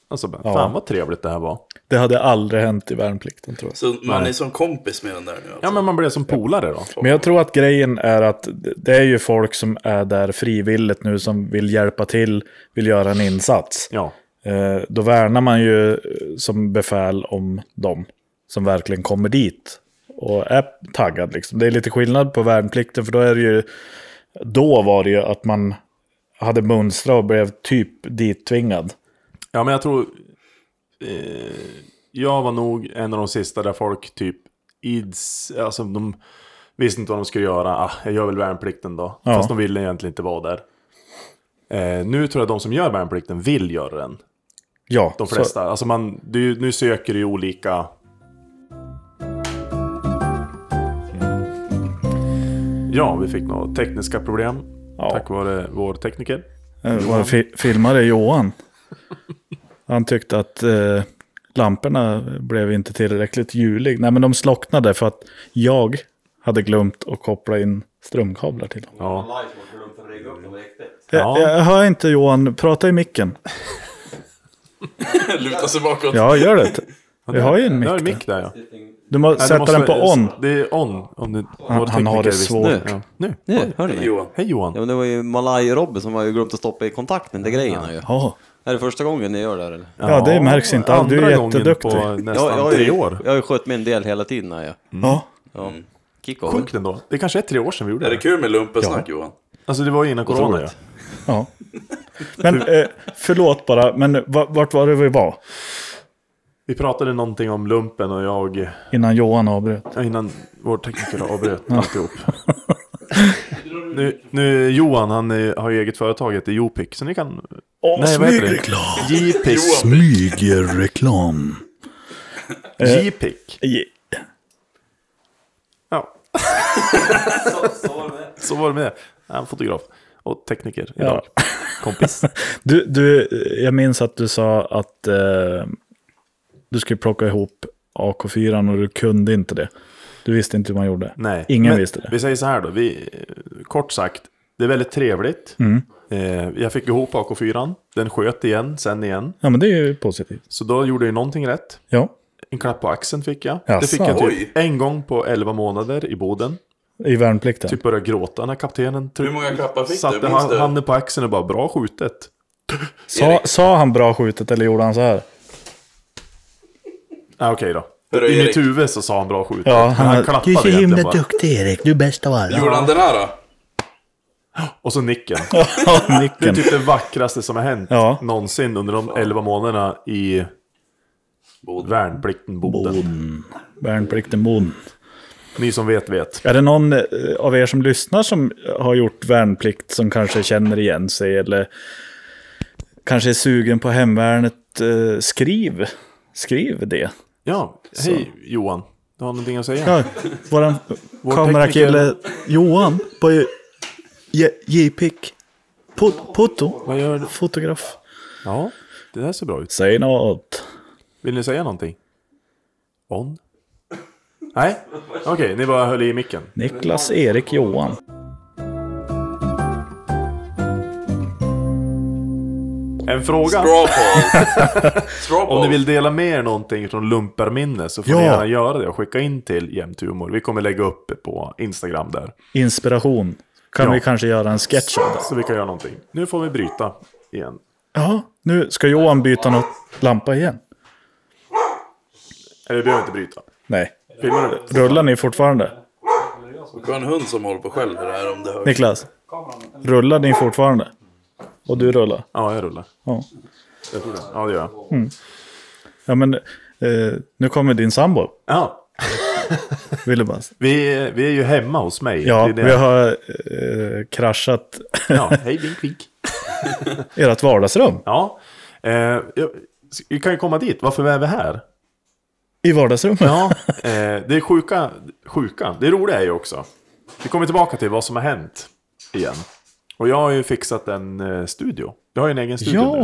S3: Och så bara,
S1: Ja.
S3: fan vad trevligt det här var.
S1: Det hade aldrig hänt i värnplikten tror jag.
S2: Så man
S3: Nej.
S2: är som kompis med den där nu.
S3: Ja,
S2: Alltså.
S3: men man blev som polare då.
S1: Men jag tror att grejen är att det- det är ju folk som är där frivilligt nu som vill hjälpa till, vill göra en insats.
S3: Ja,
S1: Eh, Då värnar man ju eh, som befäl om dem som verkligen kommer dit och är taggad. Liksom. Det är lite skillnad på värnplikten för då är det ju, då var det ju att man hade mönstra och blev typ dittvingad.
S3: ja men jag tror... Eh, jag var nog en av de sista där folk typ ids... Alltså de visste inte vad de skulle göra. Ah, jag gör väl värnplikten då.
S1: Ja.
S3: Fast de ville egentligen inte vara där. Eh, nu tror jag de som gör värnplikten vill göra den.
S1: Ja,
S3: De
S1: så-
S3: flesta. Alltså man, du, nu söker du ju olika... Ja, vi fick några tekniska problem.
S1: Ja.
S3: Tack vare vår tekniker.
S1: Eh, Vår fi filmare Johan. Han tyckte att eh, lamporna blev inte tillräckligt julig. Nej men de slocknade för att jag hade glömt att koppla in strömkablar till dem.
S3: Ja.
S5: live och glömt att rigga upp dem riktigt.
S3: Ja.
S1: Jag, jag hör inte Johan, prata i micken.
S2: *laughs* Luta sig bakåt.
S1: Ja, gör det. Vi har ju en mick.
S3: Ja, en
S1: där.
S3: mick där ja.
S1: Du måste
S3: Nej,
S1: sätta
S3: du måste-
S1: den på on.
S3: Det är on. Om du, vår
S1: han
S3: tekniker
S1: har det
S3: visste.
S1: svårt.
S3: Ja. Nu.
S5: Nu, hör ni mig?
S2: Johan.
S3: Hej Johan.
S5: Ja men det var ju Malaj-Robbe som har ju glömt att stoppa i kontakten till grejerna ju.
S1: Ja.
S5: Är det första gången ni gör det här, eller?
S1: Ja, det märks inte alls. Du är
S3: andra gången
S1: jätteduktig.
S3: på nästan
S5: har
S3: tre
S5: ju,
S3: år.
S5: jag har ju skött min del hela tiden här ju.
S1: Ja.
S5: Ja. Kick over.
S3: Sjukt ändå. Det kanske är tre år sedan vi gjorde
S2: Är
S3: det.
S2: det kul med lumpesnack Johan?
S3: Alltså det var ju innan corona. Ja.
S5: Otroligt.
S1: ja. Men eh, förlåt bara, men va- vart var det vi var
S3: Vi pratade någonting om lumpen och jag...
S1: innan Johan avbröt?
S3: ja, Innan vår tekniker avbröt alltihop. Nu, nu Johan, han eh, har ju eget företag, heter Jopic, så ni kan...
S1: Åh,
S3: Nej, vad heter
S1: snygg
S3: det?
S1: reklam!
S3: J-Pic.
S4: Smygreklam.
S1: Eh.
S3: J-Pic. Ja, *laughs* så var det med det. Han är fotograf och tekniker idag. Kompis.
S1: Du, du, jag minns att du sa att eh, du skulle plocka ihop AK4 och du kunde inte det. Du visste inte hur man gjorde.
S3: Nej.
S1: Ingen
S3: Men
S1: visste det.
S3: Vi säger så här då, vi, eh, kort sagt, det är väldigt trevligt.
S1: Mm.
S3: Eh, jag fick ihop AK4, den sköt igen, sen igen.
S1: Ja, men det är ju positivt.
S3: Så då gjorde jag ju någonting rätt.
S1: Ja,
S3: En klapp på axeln fick jag.
S1: Jaså.
S3: Det fick jag
S2: Oj.
S3: typ en gång på 11 månader i Boden.
S1: i värnplikten.
S3: Typ började gråta när kaptenen
S2: Hur många klappar fick du?
S3: satte
S2: Minns
S3: han-
S2: du?
S3: handen på axeln och bara bra skjutet.
S1: sa, sa han bra skjutet eller gjorde han så här?
S3: Ah, Okej då.
S2: Hörru,
S3: I mitt
S2: Erik.
S3: huvud så sa han bra skjutet.
S1: Ja,
S3: men
S1: han-
S3: han, klappade egentligen bara.
S4: duktig Erik, du är bäst av alla.
S2: Gjorde han den här då?
S3: Och så nicken.
S1: *laughs* Ja,
S3: Det är
S1: nicken.
S3: typ det vackraste som har hänt
S1: Ja.
S3: någonsin under de 11 månaderna i
S2: Bod.
S3: värnplikten Boden.
S1: Värnplikten bon.
S3: Ni som vet vet.
S1: Är det någon eh, av er som lyssnar som har gjort värnplikt som kanske känner igen sig eller kanske är sugen på hemvärnet? Eh, skriv. Skriv det.
S3: Ja, hej Johan. Du har någonting att säga?
S1: Ja, våran
S3: Vår
S1: kamerakille Johan var ju J- JPIC. Pot- Foto.
S3: Vad gör du?
S1: Fotograf.
S3: Ja, det där ser bra ut.
S1: Säg något.
S3: Vill ni säga någonting? On? Nej? Okej, ni bara höll i micken.
S1: Niklas Erik Johan.
S3: En fråga.
S2: Straw poll.
S3: *laughs*
S2: Straw poll.
S3: Om ni vill dela med er någonting från lumparminne så får
S1: Ja.
S3: ni gärna göra det och skicka in till Jämthumor. Vi kommer lägga upp på Instagram där.
S1: Inspiration. Kan
S3: Ja.
S1: vi kanske göra en sketch av det?
S3: Så vi kan göra någonting. Nu får vi bryta igen.
S1: Ja, nu ska Johan byta något lampa igen.
S3: Eller vi behöver inte bryta.
S1: Nej.
S3: Filmar du?
S1: Rullar ni fortfarande?
S2: Det var en hund som håller på själv det här om det hörs.
S1: Niklas, rullar ni fortfarande? Och du rullar?
S3: Ja, jag rullar.
S1: Ja.
S3: Jag tror det. Mm. Ja, det gör jag.
S1: Ja, men eh, nu kommer din sambo,
S3: Ja,
S1: ville bara.
S3: vi, vi är ju hemma hos mig.
S1: Ja,
S3: det
S1: vi
S3: är det.
S1: har eh, kraschat
S3: Ja, hej vink vink.
S1: ert vardagsrum.
S3: Ja, eh, jag, vi kan ju komma dit. Varför är vi här?
S1: I vardagsrummet?
S3: Ja, eh, det är sjuka, sjuka. Det roliga är ju också. Vi kommer tillbaka till vad som har hänt igen. Och jag har ju fixat en eh, studio. Jag har ju en egen studio nu.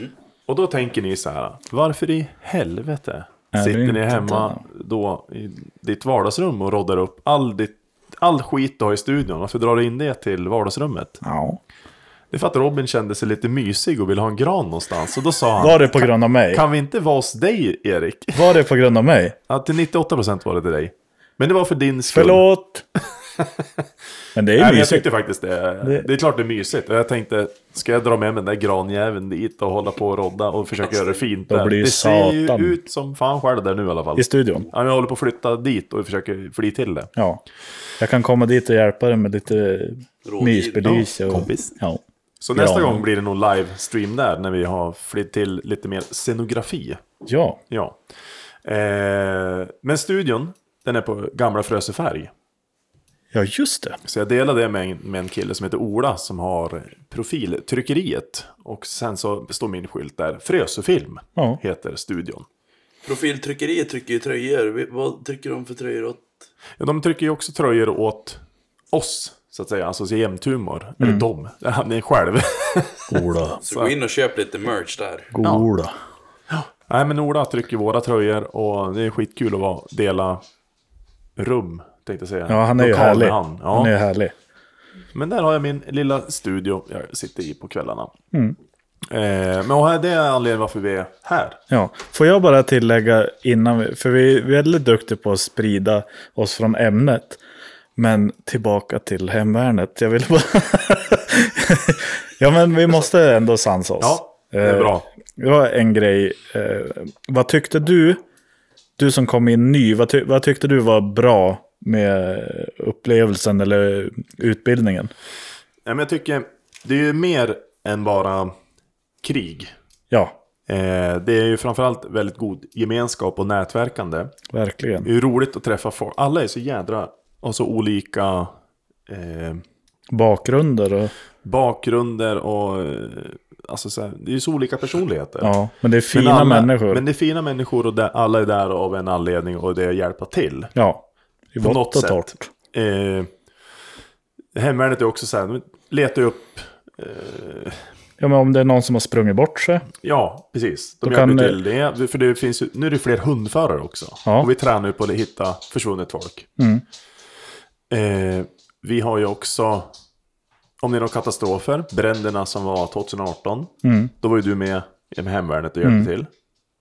S1: Ja,
S3: Och då tänker ni så här. Varför i helvete
S1: Är vi
S3: sitter
S1: inte
S3: ni hemma då i ditt vardagsrum och roddar upp all, ditt, all skit du har i studion? Varför drar du in det till vardagsrummet?
S1: ja.
S3: Det är för att Robin kände sig lite mysig och ville ha en gran någonstans. Och då sa han.
S1: Var det på grund av mig?
S3: Kan vi inte vara hos dig, Erik?
S1: Var det på grund av mig?
S3: Ja, till 98% var det till dig. Men det var för din skull. *laughs*
S1: Förlåt! Men det är
S3: Nej, men jag
S1: mysigt.
S3: tyckte faktiskt det.
S1: Det-
S3: det. är klart det är mysigt. Och jag tänkte, ska jag dra med mig den där granjäveln dit och hålla på och rodda och försöka göra det fint
S1: Alltså, Då
S3: där?
S1: blir
S3: Det ser ju
S1: satan.
S3: ut som fan själv där nu i alla fall.
S1: I studion.
S3: Ja, men jag håller på att flytta dit och försöker fly till det.
S1: Ja. Jag kan komma dit och hjälpa dig med lite mysbelys. Och,
S3: kompis.
S1: Ja.
S3: Så nästa
S1: Ja.
S3: gång blir det nog livestream där när vi har flytt till lite mer scenografi.
S1: ja.
S3: Ja. Eh, men studion, den är på gamla Frösefärg.
S1: Ja, just det.
S3: Så jag delade det med en, med en kille som heter Ola som har profiltryckeriet. Och sen så står min skylt där, Frösöfilm
S1: Ja.
S3: heter studion.
S2: Profiltryckeriet trycker ju tröjor. Vi- Vad trycker de för tröjor åt?
S3: Ja, de trycker ju också tröjor åt oss, så att säga, alltså jämthumor.
S1: Mm.
S3: Eller dem, han är själv.
S1: Goda.
S2: Så gå in och köp lite merch där.
S1: Goda.
S3: Nej men Ola trycker våra tröjor och det är skitkul att vara, dela rum, tänkte jag säga.
S1: Ja, han är ju
S3: Lokal
S1: härlig.
S3: med Han. Ja.
S1: Han är ju härlig.
S3: Men där har jag min lilla studio jag sitter i på kvällarna.
S1: Mm.
S3: Eh, men och här- det är anledningen varför vi är här.
S1: Ja, får jag bara tillägga innan, vi- för vi är väldigt duktiga på att sprida oss från ämnet. Men tillbaka till hemvärnet. Jag vill bara... *laughs* ja, men vi måste ändå sansa oss.
S3: Ja, det är
S1: Eh,
S3: bra.
S1: Det var en grej. Eh, vad tyckte du, du som kom in ny, vad, ty- vad tyckte du var bra med upplevelsen eller utbildningen?
S3: Nej, men jag tycker det är ju mer än bara krig.
S1: Ja,
S3: Eh, det är ju framförallt väldigt god gemenskap och nätverkande.
S1: verkligen.
S3: Det är ju roligt att träffa folk. Alla är så jädra och så olika eh,
S1: bakgrunder och...
S3: bakgrunder och eh, alltså så här, det är ju så olika personligheter.
S1: Ja, men det är fina
S3: alla-
S1: människor.
S3: Men det är fina människor och där, alla är där av en anledning och det är att hjälpa till.
S1: Ja, i
S3: På
S1: vått
S3: något
S1: och
S3: sätt.
S1: torrt.
S3: Eh, hemvärnet är också så här, de letar ju upp,
S1: Ja, men om det är någon som har sprungit bort sig.
S3: Mm. ja precis, de
S1: Då
S3: hjälper
S1: kan, eh,
S3: till. Det, är- för det finns ju, nu är det fler hundförare också.
S1: Ja.
S3: Och vi tränar ju på att hitta försvunnet folk.
S1: Mm.
S3: Eh, vi har ju också, om det är några katastrofer, bränderna som var 2018.
S1: Mm.
S3: Då var ju du med i hemvärnet och hjälpte till.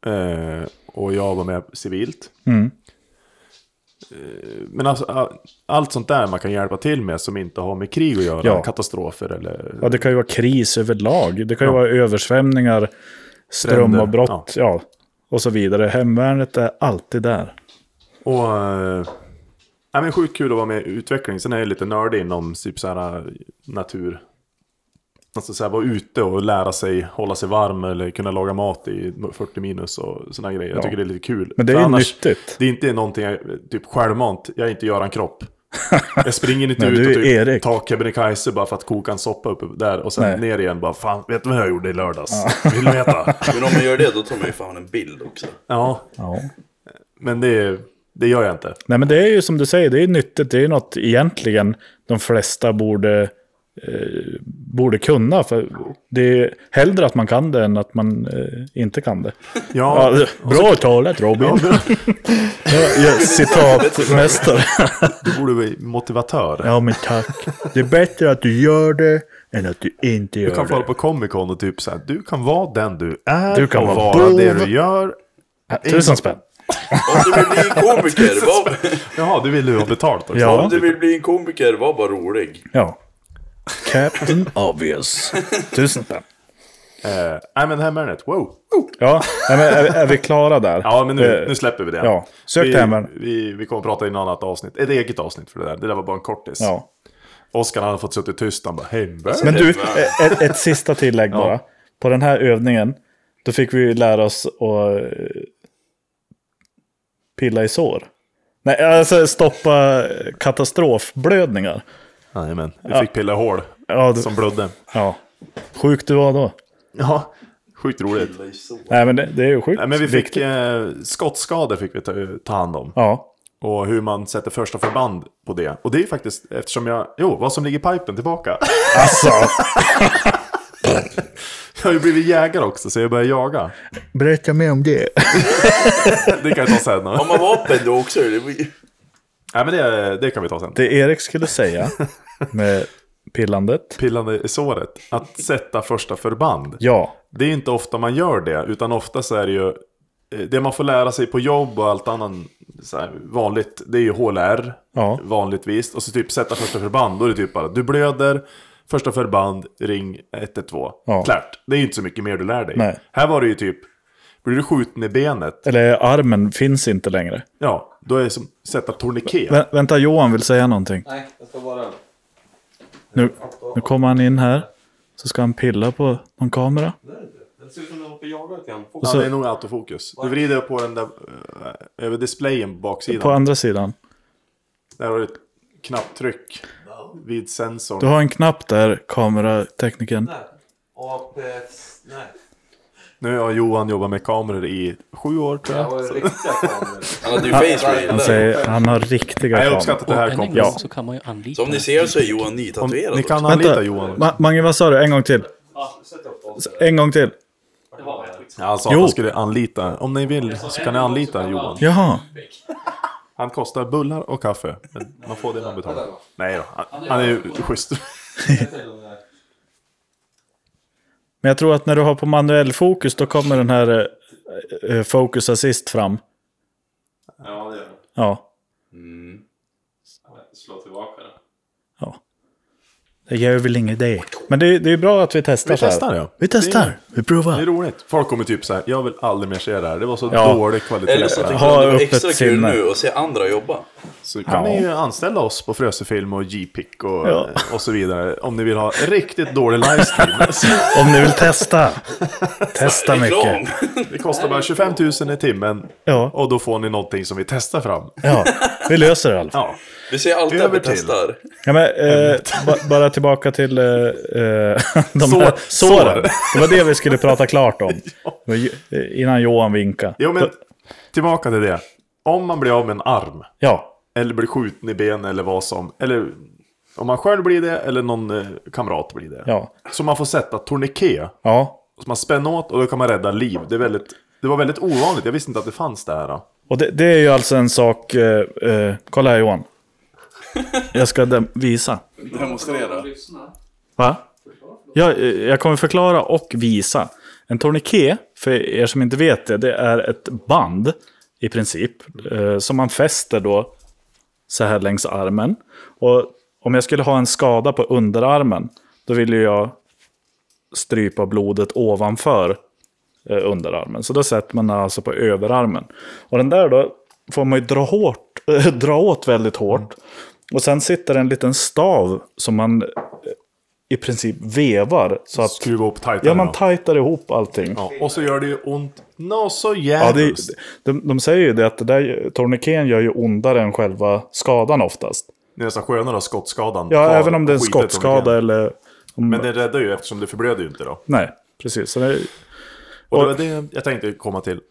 S3: Eh, och jag var med civilt.
S1: Mm.
S3: Men alltså, a- allt sånt där man kan hjälpa till med som inte har med krig att göra,
S1: Ja.
S3: katastrofer eller...
S1: Ja, det kan ju vara kris överlag. Det kan ju
S3: Ja.
S1: vara översvämningar, strömavbrott,
S3: Bränder,
S1: ja. och så vidare. Hemvärnet är alltid där.
S3: Och... eh, Nej, men sjukt kul att vara med i utveckling. Sen är jag lite nördig inom typ så här natur. Alltså så här, vara ute och lära sig hålla sig varm eller kunna laga mat i 40 minus och sådana grejer. Jag tycker det är lite kul.
S1: Men det är
S3: För
S1: ju
S3: annars-
S1: nyttigt.
S3: Det är inte någonting jag, typ självmant, jag är inte
S1: *laughs*
S3: Göran Kropp. Jag springer inte
S1: Nej,
S3: ut
S1: du
S3: och
S1: är
S3: typ
S1: Erik.
S3: tar Kebnekaise bara för att koka en soppa uppe där och sen
S1: Nej.
S3: ner igen bara fan, vet du vad jag gjorde i lördags? *laughs* Vill du veta?
S2: Men om man gör det, då tar man ju fan en bild också.
S3: ja,
S1: Ja.
S3: men det, det gör jag inte.
S1: Nej, men det är ju som du säger, det är ju nyttigt. Det är ju något egentligen de flesta borde, eh, borde kunna. För det är hellre att man kan det än att man eh, inte kan
S3: *laughs*
S1: det. Ja,
S3: Ja,
S1: det- bra talat Robin!
S3: ja
S1: *laughs* Ja, ja, citatmästare.
S3: du borde vara motivatör.
S1: Ja, men tack. Det är bättre att du gör det än att du inte gör
S3: Du kan få
S1: det.
S3: hålla på Comic Con och typ så här, du kan vara den du är.
S1: Du kan vara
S3: och vara det
S1: bov.
S3: du gör.
S1: Tusen spänn.
S2: Om du vill bli en komiker,
S3: *laughs*
S2: var,
S3: Jaha, det vill du ha betalt också.
S1: Ja.
S2: om du vill bli en komiker, var bara rolig.
S1: Ja. Captain *laughs* Obvious. Tusen spänn.
S3: Eh, nej men hemvärnet, wow.
S1: Ja, nej, men är, är vi klara där?
S3: Ja men nu,
S1: Eh,
S3: nu släpper vi det.
S1: ja. Sök
S3: vi,
S1: till hemvärnet.
S3: Vi, vi kommer att prata i något annat avsnitt. Ett eget avsnitt för det där. Det där var bara en kortis.
S1: Ja.
S3: Oskar hade fått suttit tyst. Han bara hemvärnet.
S1: Men du,
S2: Helt värd.
S1: ett, ett sista tillägg bara. På den här övningen, då fick vi ju lära oss att eh, pilla i sår. Nej, alltså stoppa katastrofblödningar.
S3: Jajamän. Vi fick pilla i hål
S1: Ja, det,
S3: som blödde.
S1: ja. Sjukt du var då.
S3: Ja, sjukt roligt.
S1: Nej, men det, det är ju sjukt.
S3: Nej, men vi fick
S1: viktigt.
S3: eh, skottskador fick vi ta, ta hand om. *laughs*
S1: Ja,
S3: Och hur man sätter första förband på det. Och det är ju faktiskt eftersom jag... Jo, vad som ligger i pipen tillbaka.
S1: alltså.
S3: Jag har ju blivit jägare också så jag börjar jaga.
S4: Berätta mer om det.
S3: Det kan jag ta sen.
S2: Om man vapen då också, det var ju-
S3: Nej men det, det kan vi ta sen.
S1: Det Erik skulle säga med pillandet.
S3: Pillande i såret. Att sätta första förband.
S1: Ja,
S3: Det är inte ofta man gör det, utan ofta så är det ju eh, det man får lära sig på jobb och allt annat så här, vanligt, det är ju HLR
S1: Ja.
S3: vanligtvis. Och så typ sätta första förband, då är det typ bara du blöder, första förband, ring 112.
S1: Ja.
S3: Klart, det är ju inte så mycket mer du lär dig.
S1: Nej.
S3: Här var det ju typ, blir du skjuten i benet,
S1: eller armen finns inte längre.
S3: ja, då är det som sätta torniket.
S1: Vä- vänta, Johan vill säga någonting.
S5: Nej, jag ska bara...
S1: Nu, nu kommer han in här. Så ska han pilla på någon kamera.
S5: Det ser ut som att jag hoppar och jagar lite grann.
S3: Ja,
S1: så-
S3: det är nog autofokus. Du vrider upp på den där, eh, över displayen på baksidan.
S1: På andra sidan.
S3: Där har du ett knapptryck vid sensorn.
S1: Du har en knapp där, kameratekniken.
S5: eh, APS... Nej.
S3: Nu har Johan jobbat med kameror i sju år tror jag.
S5: ju riktiga kameror.
S2: Han hade ju face
S1: Han
S2: reveal där.
S1: säger han har riktiga
S3: Nej, jag
S1: kameror.
S3: uppskattar det här
S6: Än en
S3: kompis.
S6: gång
S1: Ja.
S6: så kan man ju anlita...
S2: Så om ni ser så är Johan
S3: Om,
S2: nytatuerad.
S3: ni kan
S2: också.
S3: anlita
S1: Vänta,
S3: Johan.
S1: Ma- Mange vad sa du? En gång till. En gång till.
S3: Ja, Han sa att
S1: Jo.
S3: han skulle anlita. Om ni vill så kan ni anlita Johan.
S1: Jaha.
S3: Han kostar bullar och kaffe. Men man får det man betalar. Nej då, han- han är ju schysst. *laughs*
S1: Men jag tror att när du har på manuell fokus då kommer den här eh, eh, focus assist fram.
S5: Ja, det gör det.
S1: Ja.
S5: Slå tillbaka den.
S1: Det gör väl inget det. Men det, är- det är bra att vi testar.
S3: Vi
S1: så här.
S3: testar ja.
S4: Vi testar. Vi
S3: Det är
S4: provar.
S3: roligt. Folk kommer typ så här, jag vill aldrig mer se det här. Det var så
S1: Ja.
S3: dålig kvalitet.
S2: Eller så
S3: på det
S2: tycker
S3: här.
S2: han det
S1: Ha
S2: var
S1: öppet
S2: extra kul
S1: sinne.
S2: nu och se andra jobba.
S3: Så kan
S1: Ja.
S3: ni ju anställa oss på Frösefilm och J-Pick och, eh,
S1: Ja.
S3: och så vidare. Om ni vill ha riktigt dålig
S1: *laughs*
S3: livestream. Alltså, Så
S1: Om ni vill
S5: *laughs*
S1: testa. Testa
S2: Reklam!
S1: mycket.
S3: det kostar bara 25 000 i timmen.
S1: Ja,
S3: Och då får ni någonting som vi testar fram.
S1: ja, vi löser det i alla fall.
S3: Ja,
S2: Vi säger alltid att
S3: Över
S2: vi
S3: till.
S2: testar.
S1: Ja, men, eh, ba, bara tillbaka till eh, eh, *laughs* de
S3: Sår-
S1: här såren.
S3: sår.
S1: Det var det vi skulle prata klart
S3: *laughs*
S1: om. Det var ju- eh, Innan Johan vinkade.
S3: jo men tillbaka till det. Om man blir av med en arm.
S1: Ja,
S3: Eller blir skjuten i ben eller vad som. Eller om man själv blir det eller någon eh, kamrat blir det.
S1: ja,
S3: Så man får sätta tourniquet.
S1: ja.
S3: Så man spänner åt och då kan man rädda liv. Det, är väldigt, det var väldigt ovanligt. Jag visste inte att det fanns det här. då.
S1: Och det, det är ju alltså en sak... Eh, eh, kolla här Johan. Jag ska dem- visa.
S2: Demonstrera.
S1: Va? Ja, eh, jag kommer förklara och visa. En tourniquet, för er som inte vet det, det är ett band i princip. Eh, som man fäster då så här längs armen. Och om jag skulle ha en skada på underarmen, då vill ju jag strypa blodet ovanför eh, underarmen. Så då sätter man den alltså på överarmen. Och den där då får man ju dra, hårt, eh, dra åt väldigt hårt. Och sen sitter en liten stav som man eh, i princip vevar. Så att
S3: Skruva upp tajtare.
S1: ja, man
S3: då.
S1: tajtar ihop allting.
S3: ja. Och så gör det ju ont. Nå så
S1: Ja, det,
S3: jävligt.
S1: de, de säger ju det att det där eh, tourniqueten gör ju ondare än själva skadan oftast.
S3: Det är nästan skönare att ha skottskadan.
S1: Ja,
S3: kvar
S1: även om det är en
S3: och skitet
S1: skottskada
S3: tourniquet.
S1: eller... Om,
S3: Men det räddar ju eftersom det förblöder ju inte då.
S1: Nej, precis. Så det,
S3: Och det var det jag tänkte komma till.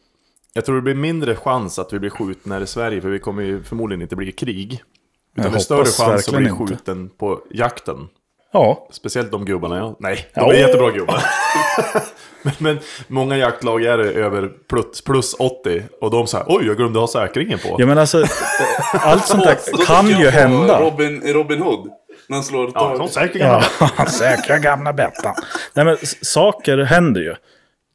S3: Jag tror det blir mindre chans att vi blir skjutna här i Sverige, för vi kommer ju förmodligen inte bli i krig. Utan det är
S1: hoppas
S3: större chans att bli
S1: verkligen inte.
S3: skjuten på jakten.
S1: ja,
S3: Speciellt de gubbarna jag... Nej, de
S1: Ja.
S3: är jättebra gubbar. *laughs* men, men många jaktlag är över plus, plus 80 och de säger oj, jag glömde ha säkringen på.
S1: jag menar alltså... Allt
S3: *laughs*
S1: sånt
S2: Så då
S1: där kan
S2: tänker
S1: ju
S2: jag på
S1: hända.
S2: Robin, Robin Hood. När han slår
S3: Ja, de
S2: tag.
S3: säkringen.
S1: Ja, *laughs* säkra gamla Bettan. Nej, men s- saker händer ju.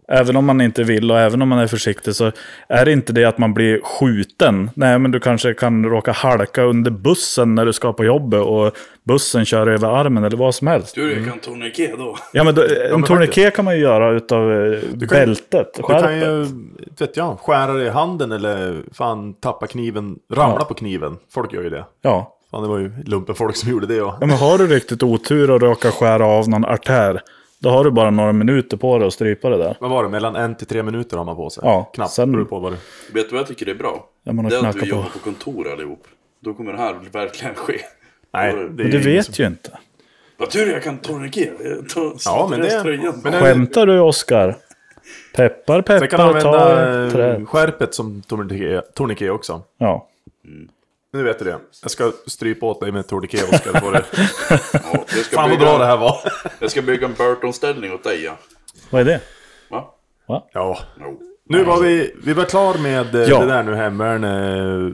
S1: Även om man inte vill och även om man är försiktig så är det inte det att man blir skjuten. Nej, men du kanske kan råka halka under bussen när du ska på jobbet och bussen kör över armen eller vad som helst.
S2: Tur jag kan tourniquet då.
S1: Ja, men då, eh, en
S3: men
S1: tourniquet kan man ju göra utav eh,
S3: kan ju-
S1: bältet,
S3: Du kan
S1: skärpet.
S3: ju, vet jag, skära dig i handen eller fan tappa kniven, ramla på kniven. Folk gör ju det.
S1: Ja.
S3: Fan, det var ju lumpen folk som *laughs* gjorde det. Och...
S1: ja, men har du riktigt otur och råkar skära av någon artär, då har du bara några minuter på dig att strypa det där.
S3: Vad var det? Mellan en till tre minuter har man på sig.
S1: Ja,
S3: Knappt.
S1: sen-
S3: Beror på vad det...
S2: Vet du vad jag tycker det är bra?
S1: Ja, man har
S2: det är att
S1: knackat
S2: vi
S1: på.
S2: jobbar på kontor allihop. Då kommer det här verkligen ske.
S3: Nej,
S2: Då-
S3: det är
S1: Men du
S3: ingen
S1: vet
S3: som-
S1: ju inte.
S2: Vad tur jag kan tourniquet. Jag tar-
S3: Ja, men
S2: tar
S3: det...
S2: tröjan.
S3: Men det...
S1: Skämtar du Oskar? Peppar,
S3: Sen kan
S1: peppar,
S3: man
S1: ta ett
S3: använda
S1: trä.
S3: eh, skärpet som tourniquet- tourniquet också.
S1: Ja.
S3: Nu vet du det. Jag ska strypa åt dig med tourniquet och
S1: *laughs*
S3: ska få det.
S2: Ja, jag, ska
S3: Fan vad
S2: bygga,
S3: bra det här var. *laughs*
S2: jag ska bygga en Burton-ställning åt dig ja.
S1: Vad är det?
S2: Va?
S3: Ja.
S2: Jo.
S3: Nu var vi, vi var klar med eh,
S1: Ja.
S3: det där nu hemvärn. eh,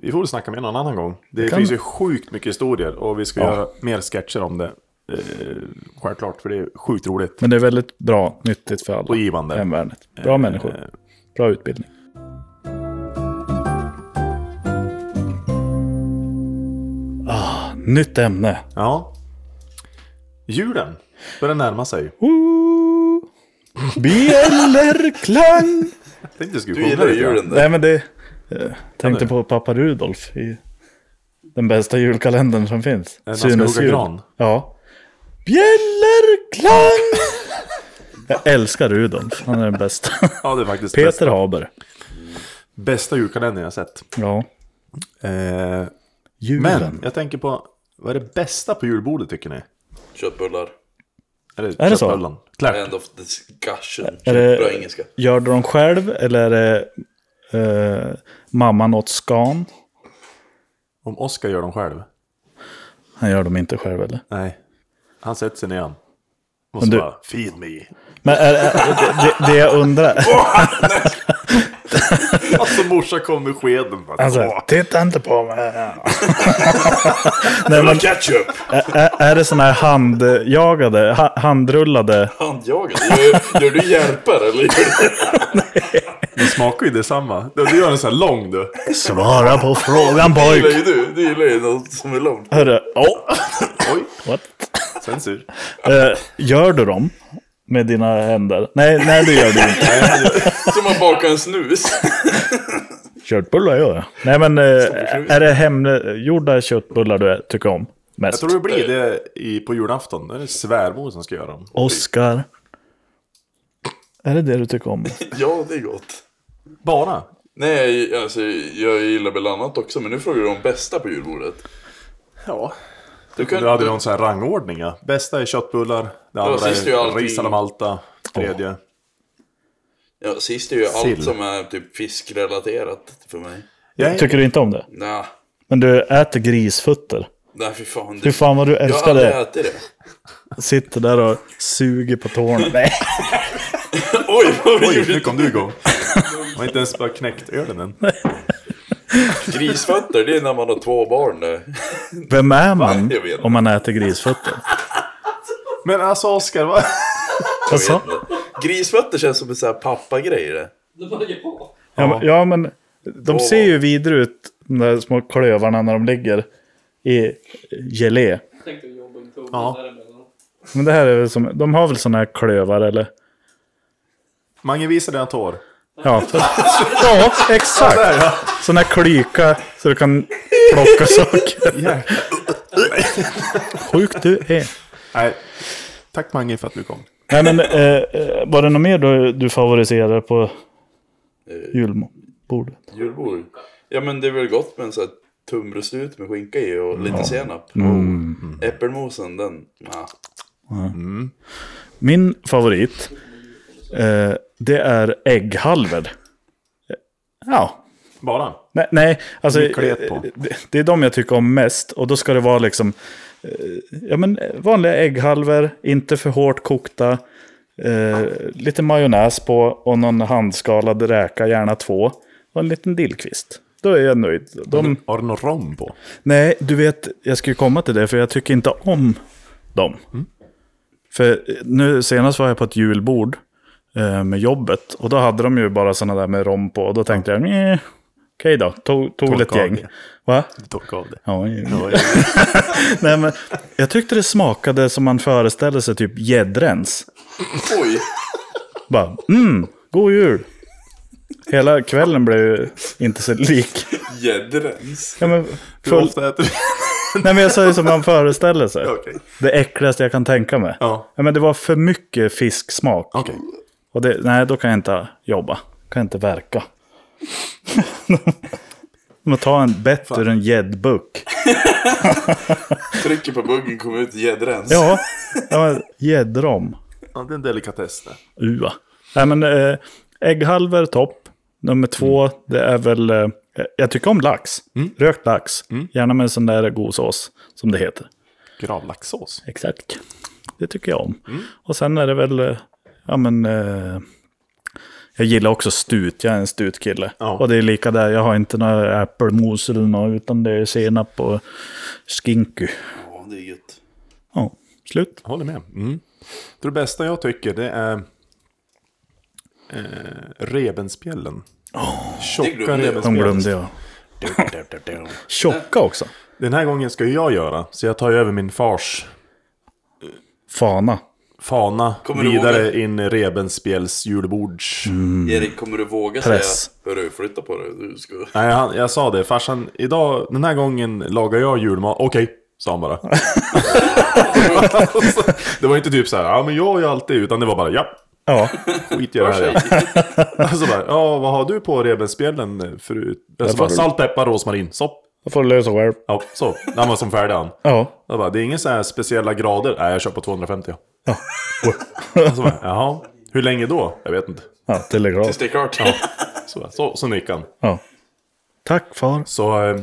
S3: Vi får väl snacka med någon annan gång. Det
S1: kan-
S3: finns ju sjukt mycket historier och vi ska göra mer sketcher om det. Eh, Självklart, för det är sjukt roligt
S1: Men det är väldigt bra, nyttigt för alla.
S3: och givande.
S1: Hemvärnet. Bra
S3: Eh,
S1: människor. Bra utbildning. Ah, nytt ämne.
S3: Ja. Julen börjar närma sig. *laughs*
S1: Woo! Bjällerklang!
S3: Jag tänkte jag skulle
S2: Du
S3: sjunga
S2: gillar ju
S3: lite grann.
S2: julen där.
S1: Nej men det... Jag tänkte på pappa Rudolf i den bästa julkalendern som finns.
S3: han ska hugga gran.
S1: Ja. Bjällerklang! *laughs* Jag älskar Rudolf, han är den bästa.
S3: Ja, det är faktiskt bästa,
S1: *laughs* Peter Haber.
S3: bästa julkalendern jag har sett.
S1: Ja.
S3: Eh,
S1: Julen.
S3: men jag tänker på, vad är det bästa på julbordet tycker ni?
S2: Köttbullar.
S3: Är det,
S1: Är det så?
S3: köttbullen? Klart.
S2: End of discussion.
S1: Är det-
S2: Bra engelska.
S1: Gör du dem själv eller är det eh, mamman åt skan?
S3: Om Oskar gör dem själv?
S1: Han gör dem inte själv eller?
S3: Nej. Han sätter sig ner igen. Och så
S1: du-
S3: bara, feed me.
S1: Men är, är, det, det jag *laughs* undrar.
S3: Alltså morsan kom med skeden. Bara,
S1: Han säger,
S3: "Åh."
S1: Alltså, titta inte på mig. *laughs* Nej, men,
S2: Ketchup!
S1: Är, är det sådana här handjagade, ha, handrullade?
S2: Handjagad. Gör, gör du hjälper eller? Gör du...
S3: Det smakar ju detsamma. Du du gör en sån här lång du.
S1: Svara på frågan
S2: Det gillar
S1: pojk!
S2: ju du. Du gillar ju något som är långt.
S1: Hörru, oh,
S3: Oj,
S1: what?
S3: censur.
S1: Eh, gör du dem? Med dina händer? Nej, nej det gör du inte.
S2: Som att baka en snus.
S1: Köttbullar gör jag. Nej men, eh,
S2: krut.
S1: är det hemgjorda köttbullar du tycker om
S3: Jag
S1: mest?
S3: tror det blir det i, på julafton. Det är svärmor som ska göra dem.
S1: Oscar. Är det det du tycker om?
S2: Ja, det är gott.
S3: Bara.
S2: Nej, alltså, jag gillar väl annat också, men nu frågar du om bästa på julbordet.
S3: Ja.
S2: Du kan,
S3: Du hade någon sån här rangordning ja. Bästa är köttbullar. Det andra
S2: sist är ju
S3: är
S2: allting-
S3: ris alla malta. Tredje.
S2: ja, sist är ju allt
S3: Sill.
S2: som är typ fiskrelaterat för mig.
S3: Jag,
S1: Tycker du inte om det?
S2: Nej,
S1: Men du äter grisfötter.
S2: nej fy fan.
S1: Fy
S2: Det,
S1: fan vad du
S2: jag har
S1: älskar
S2: aldrig
S1: det.
S2: ätit det. *laughs*
S1: Sitter där och suger på tårna. Nej.
S2: Oj, vad vi
S3: oj,
S2: gjorde
S3: nu kom du igång. Jag har inte ens bara knäckt ölen än.
S2: Grisfötter, det är när man har två barn där.
S1: Vem är man
S2: Jag vet.
S1: om man äter grisfötter?
S3: Men alltså Oskar, vad?
S1: Alltså,
S2: Grisfötter känns som en sån här pappagrej det.
S1: ja, men- ja men de ser ju vidare ut, de där små klövarna när de ligger i gelé.
S6: Tänkte jobba med Tobbe
S3: Ja.
S6: däremellan.
S1: Men det här är väl som, de har väl sådana här klövar eller?
S3: Mange visar dina tår. *laughs*
S1: Ja, för, ja exakt.
S3: Där ja.
S1: Sådana här klyka så du kan plocka saker.
S3: Yeah.
S1: Sjukt du är.
S3: Nej. Tack Mange för att du kom.
S1: Nej men eh, eh, var det något mer du, du favoriserade på julbordet?
S2: Julbord. Ja men det är väl gott med en sån här tunnbrödssnut med skinka i och lite
S1: Mm.
S2: senap. Äppelmosen, den... Ja.
S1: Min favorit, eh, det är ägghalvor. Ja,
S3: Bara.
S1: nej, nej alltså
S3: Med klet på.
S1: eh, det, det är de jag tycker om mest. Och då ska det vara liksom, eh, ja men eh, vanliga ägghalvor, inte för hårt kokta. Eh, lite majonnäs på och någon handskalad räka, gärna två. Och en liten dillkvist. Då är jag nöjd. De,
S3: Har du någon rom på?
S1: Nej, du vet, jag ska ju komma till det, för jag tycker inte om dem. För nu senast var jag på ett julbord eh, med jobbet, och då hade de ju bara sådana där med rom på, och då tänkte jag, "Nja, okej då, tog, tog väl ett
S3: Torka av
S1: gäng.
S3: det.
S1: Va?
S3: Dock av det.
S1: Ja, ja. *laughs* Nej, men jag tyckte det smakade som man föreställer sig typ gäddrens.
S2: Oj!
S1: Bara, mm, god jul. Hela kvällen blev ju inte så lik.
S2: Gäddrens.
S1: Ja, men
S3: Hur
S1: full...
S3: ofta äter du?
S1: Nej, men jag sa ju som man föreställer sig.
S3: *laughs* Okej.
S1: Det äckligaste jag kan tänka mig.
S3: Ja.
S1: men det var för mycket fisksmak.
S3: Okej.
S1: Och det, nej, då kan jag inte jobba. Kan jag inte verka. *laughs* Man tar en bett ur en gäddbuck.
S2: Trycker på buggen kommer ut gäddrens.
S1: Ja, ja, men gäddrom.
S3: Ja, det är en delikatess det.
S1: Ua. Nej, men äh, ägghalvor topp. Nummer två, det är väl... eh, jag tycker om lax.
S3: Mm.
S1: Rökt lax. Gärna med en sån där god sås, som det heter.
S3: Gravlaxsås.
S1: Exakt. Mm. Det tycker jag om. Och sen är det väl, eh, ja men, eh, jag gillar också stut, jag är en stutkille.
S3: Ja.
S1: Och det är lika där, jag har inte några äppelmos eller något, utan det är senap och skinky.
S2: Ja, det är gött.
S1: Ja, slut.
S3: Jag håller med. Mm. Det bästa jag tycker det är eh, rebenspjällen. Tjocka
S2: glömde jag.
S1: De
S3: rebenspjällen.
S1: glömde jag. Tjocka också.
S3: Den här gången ska ju jag göra, så jag tar ju över min fars
S1: Fana.
S3: fana
S2: Kommer du ihåg
S3: vidare in i rebenspjälls julbords...
S2: Erik, kommer du våga
S1: Mm. Press.
S2: säga Hörru, flytta på dig. Du ska...
S3: Nej, han, jag sa det. Farsan, idag, den här gången lagar jag julmat. Okej,
S2: *laughs*
S3: sa han bara. *laughs* det var inte typ så här, ja men jag gör alltid, utan det var bara, ja,
S1: *laughs* Ja,
S3: skit i det här. ja." *laughs* Alltså bara, ja vad har du på rebenspjällen förut? Alltså bara,
S1: får du.
S3: salt, peppar, rosmarin, sopp.
S1: då får du lösa själv.
S3: Ja, så. Han var som färdig han.
S1: Ja,
S3: Jag bara, det är inga så här speciella grader. Nej, jag kör på 250. Ja. *laughs* Så bara, jaha, hur länge då? Jag vet inte.
S1: ja telegraf.
S2: Tills det är klart.
S3: Så, bara, så, så nickade han.
S1: Ja. Tack far.
S3: Så, eh,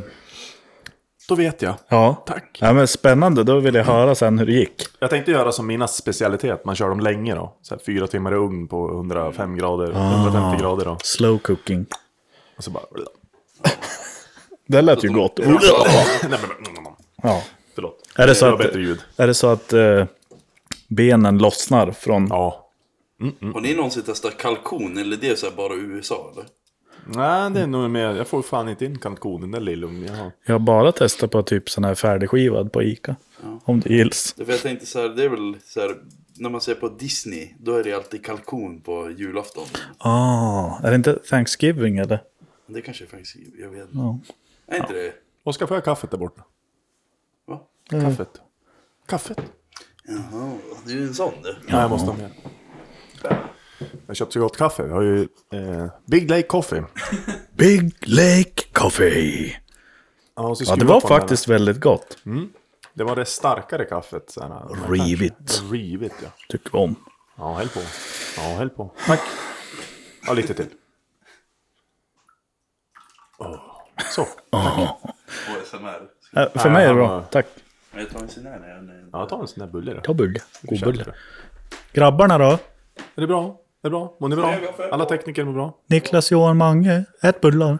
S3: då vet jag.
S1: Ja.
S3: Tack.
S1: ja, men spännande. Då vill jag höra sen hur det gick.
S3: Jag tänkte göra som mina specialitet, man kör dem länge då. Så här, fyra timmar i ugn på 105 grader, 150 grader då.
S1: Slow cooking.
S3: Och så bara... *laughs*
S1: Det lät ju gott.
S3: Nej, men,
S1: Ja.
S3: förlåt.
S1: Är det så
S3: det var
S1: att-
S3: bättre ljud.
S1: Är det så att eh, benen lossnar från...
S3: Ja.
S2: Har ni någonsin testat kalkon eller det är så här bara USA eller?
S3: Nej, det är nog mer... Jag får fan inte in kalkonen där lillungen jag har.
S1: Jag har bara testat på typ sån här färdigskivad på Ica. Om det gills.
S2: Det för jag tänkte så här, det är väl så här, när man ser på Disney, då är det alltid kalkon på julafton.
S1: Ah, är det inte Thanksgiving eller?
S2: Det kanske faktiskt, jag vet
S1: Ja.
S2: Är inte det?
S3: Oskar, får jag kaffet där borta? Mm.
S2: Va?
S3: Kaffet. Kaffet?
S2: Jaha, du är en sån du.
S3: Nej, jag måste ha mer. Jag köpte så gott kaffe. Vi har ju eh, Big Lake Coffee.
S1: Big Lake Coffee.
S3: Ja, så
S1: Ja, det
S3: skruvar
S1: var
S3: på den här.
S1: faktiskt väldigt gott.
S3: Det var det starkare kaffet. Så här,
S1: Rivigt.
S3: Rivigt, ja.
S1: Tycker vi om.
S3: Ja, häll på. Ja, häll på. Tack. Ja, lite till. Åh, Så.
S2: ASMR.
S1: Äh, för mig är det bra. Tack.
S2: Jag tar en sån här när jag är
S3: Ja, ta en sån där bulle då.
S1: Ta bulle. God
S3: Köp
S1: bulle.
S3: det.
S1: Grabbarna då?
S3: Är det bra? Är det bra? Mår ni bra? Alla tekniker mår bra?
S1: Niklas, Johan, Mange. Ät bullar.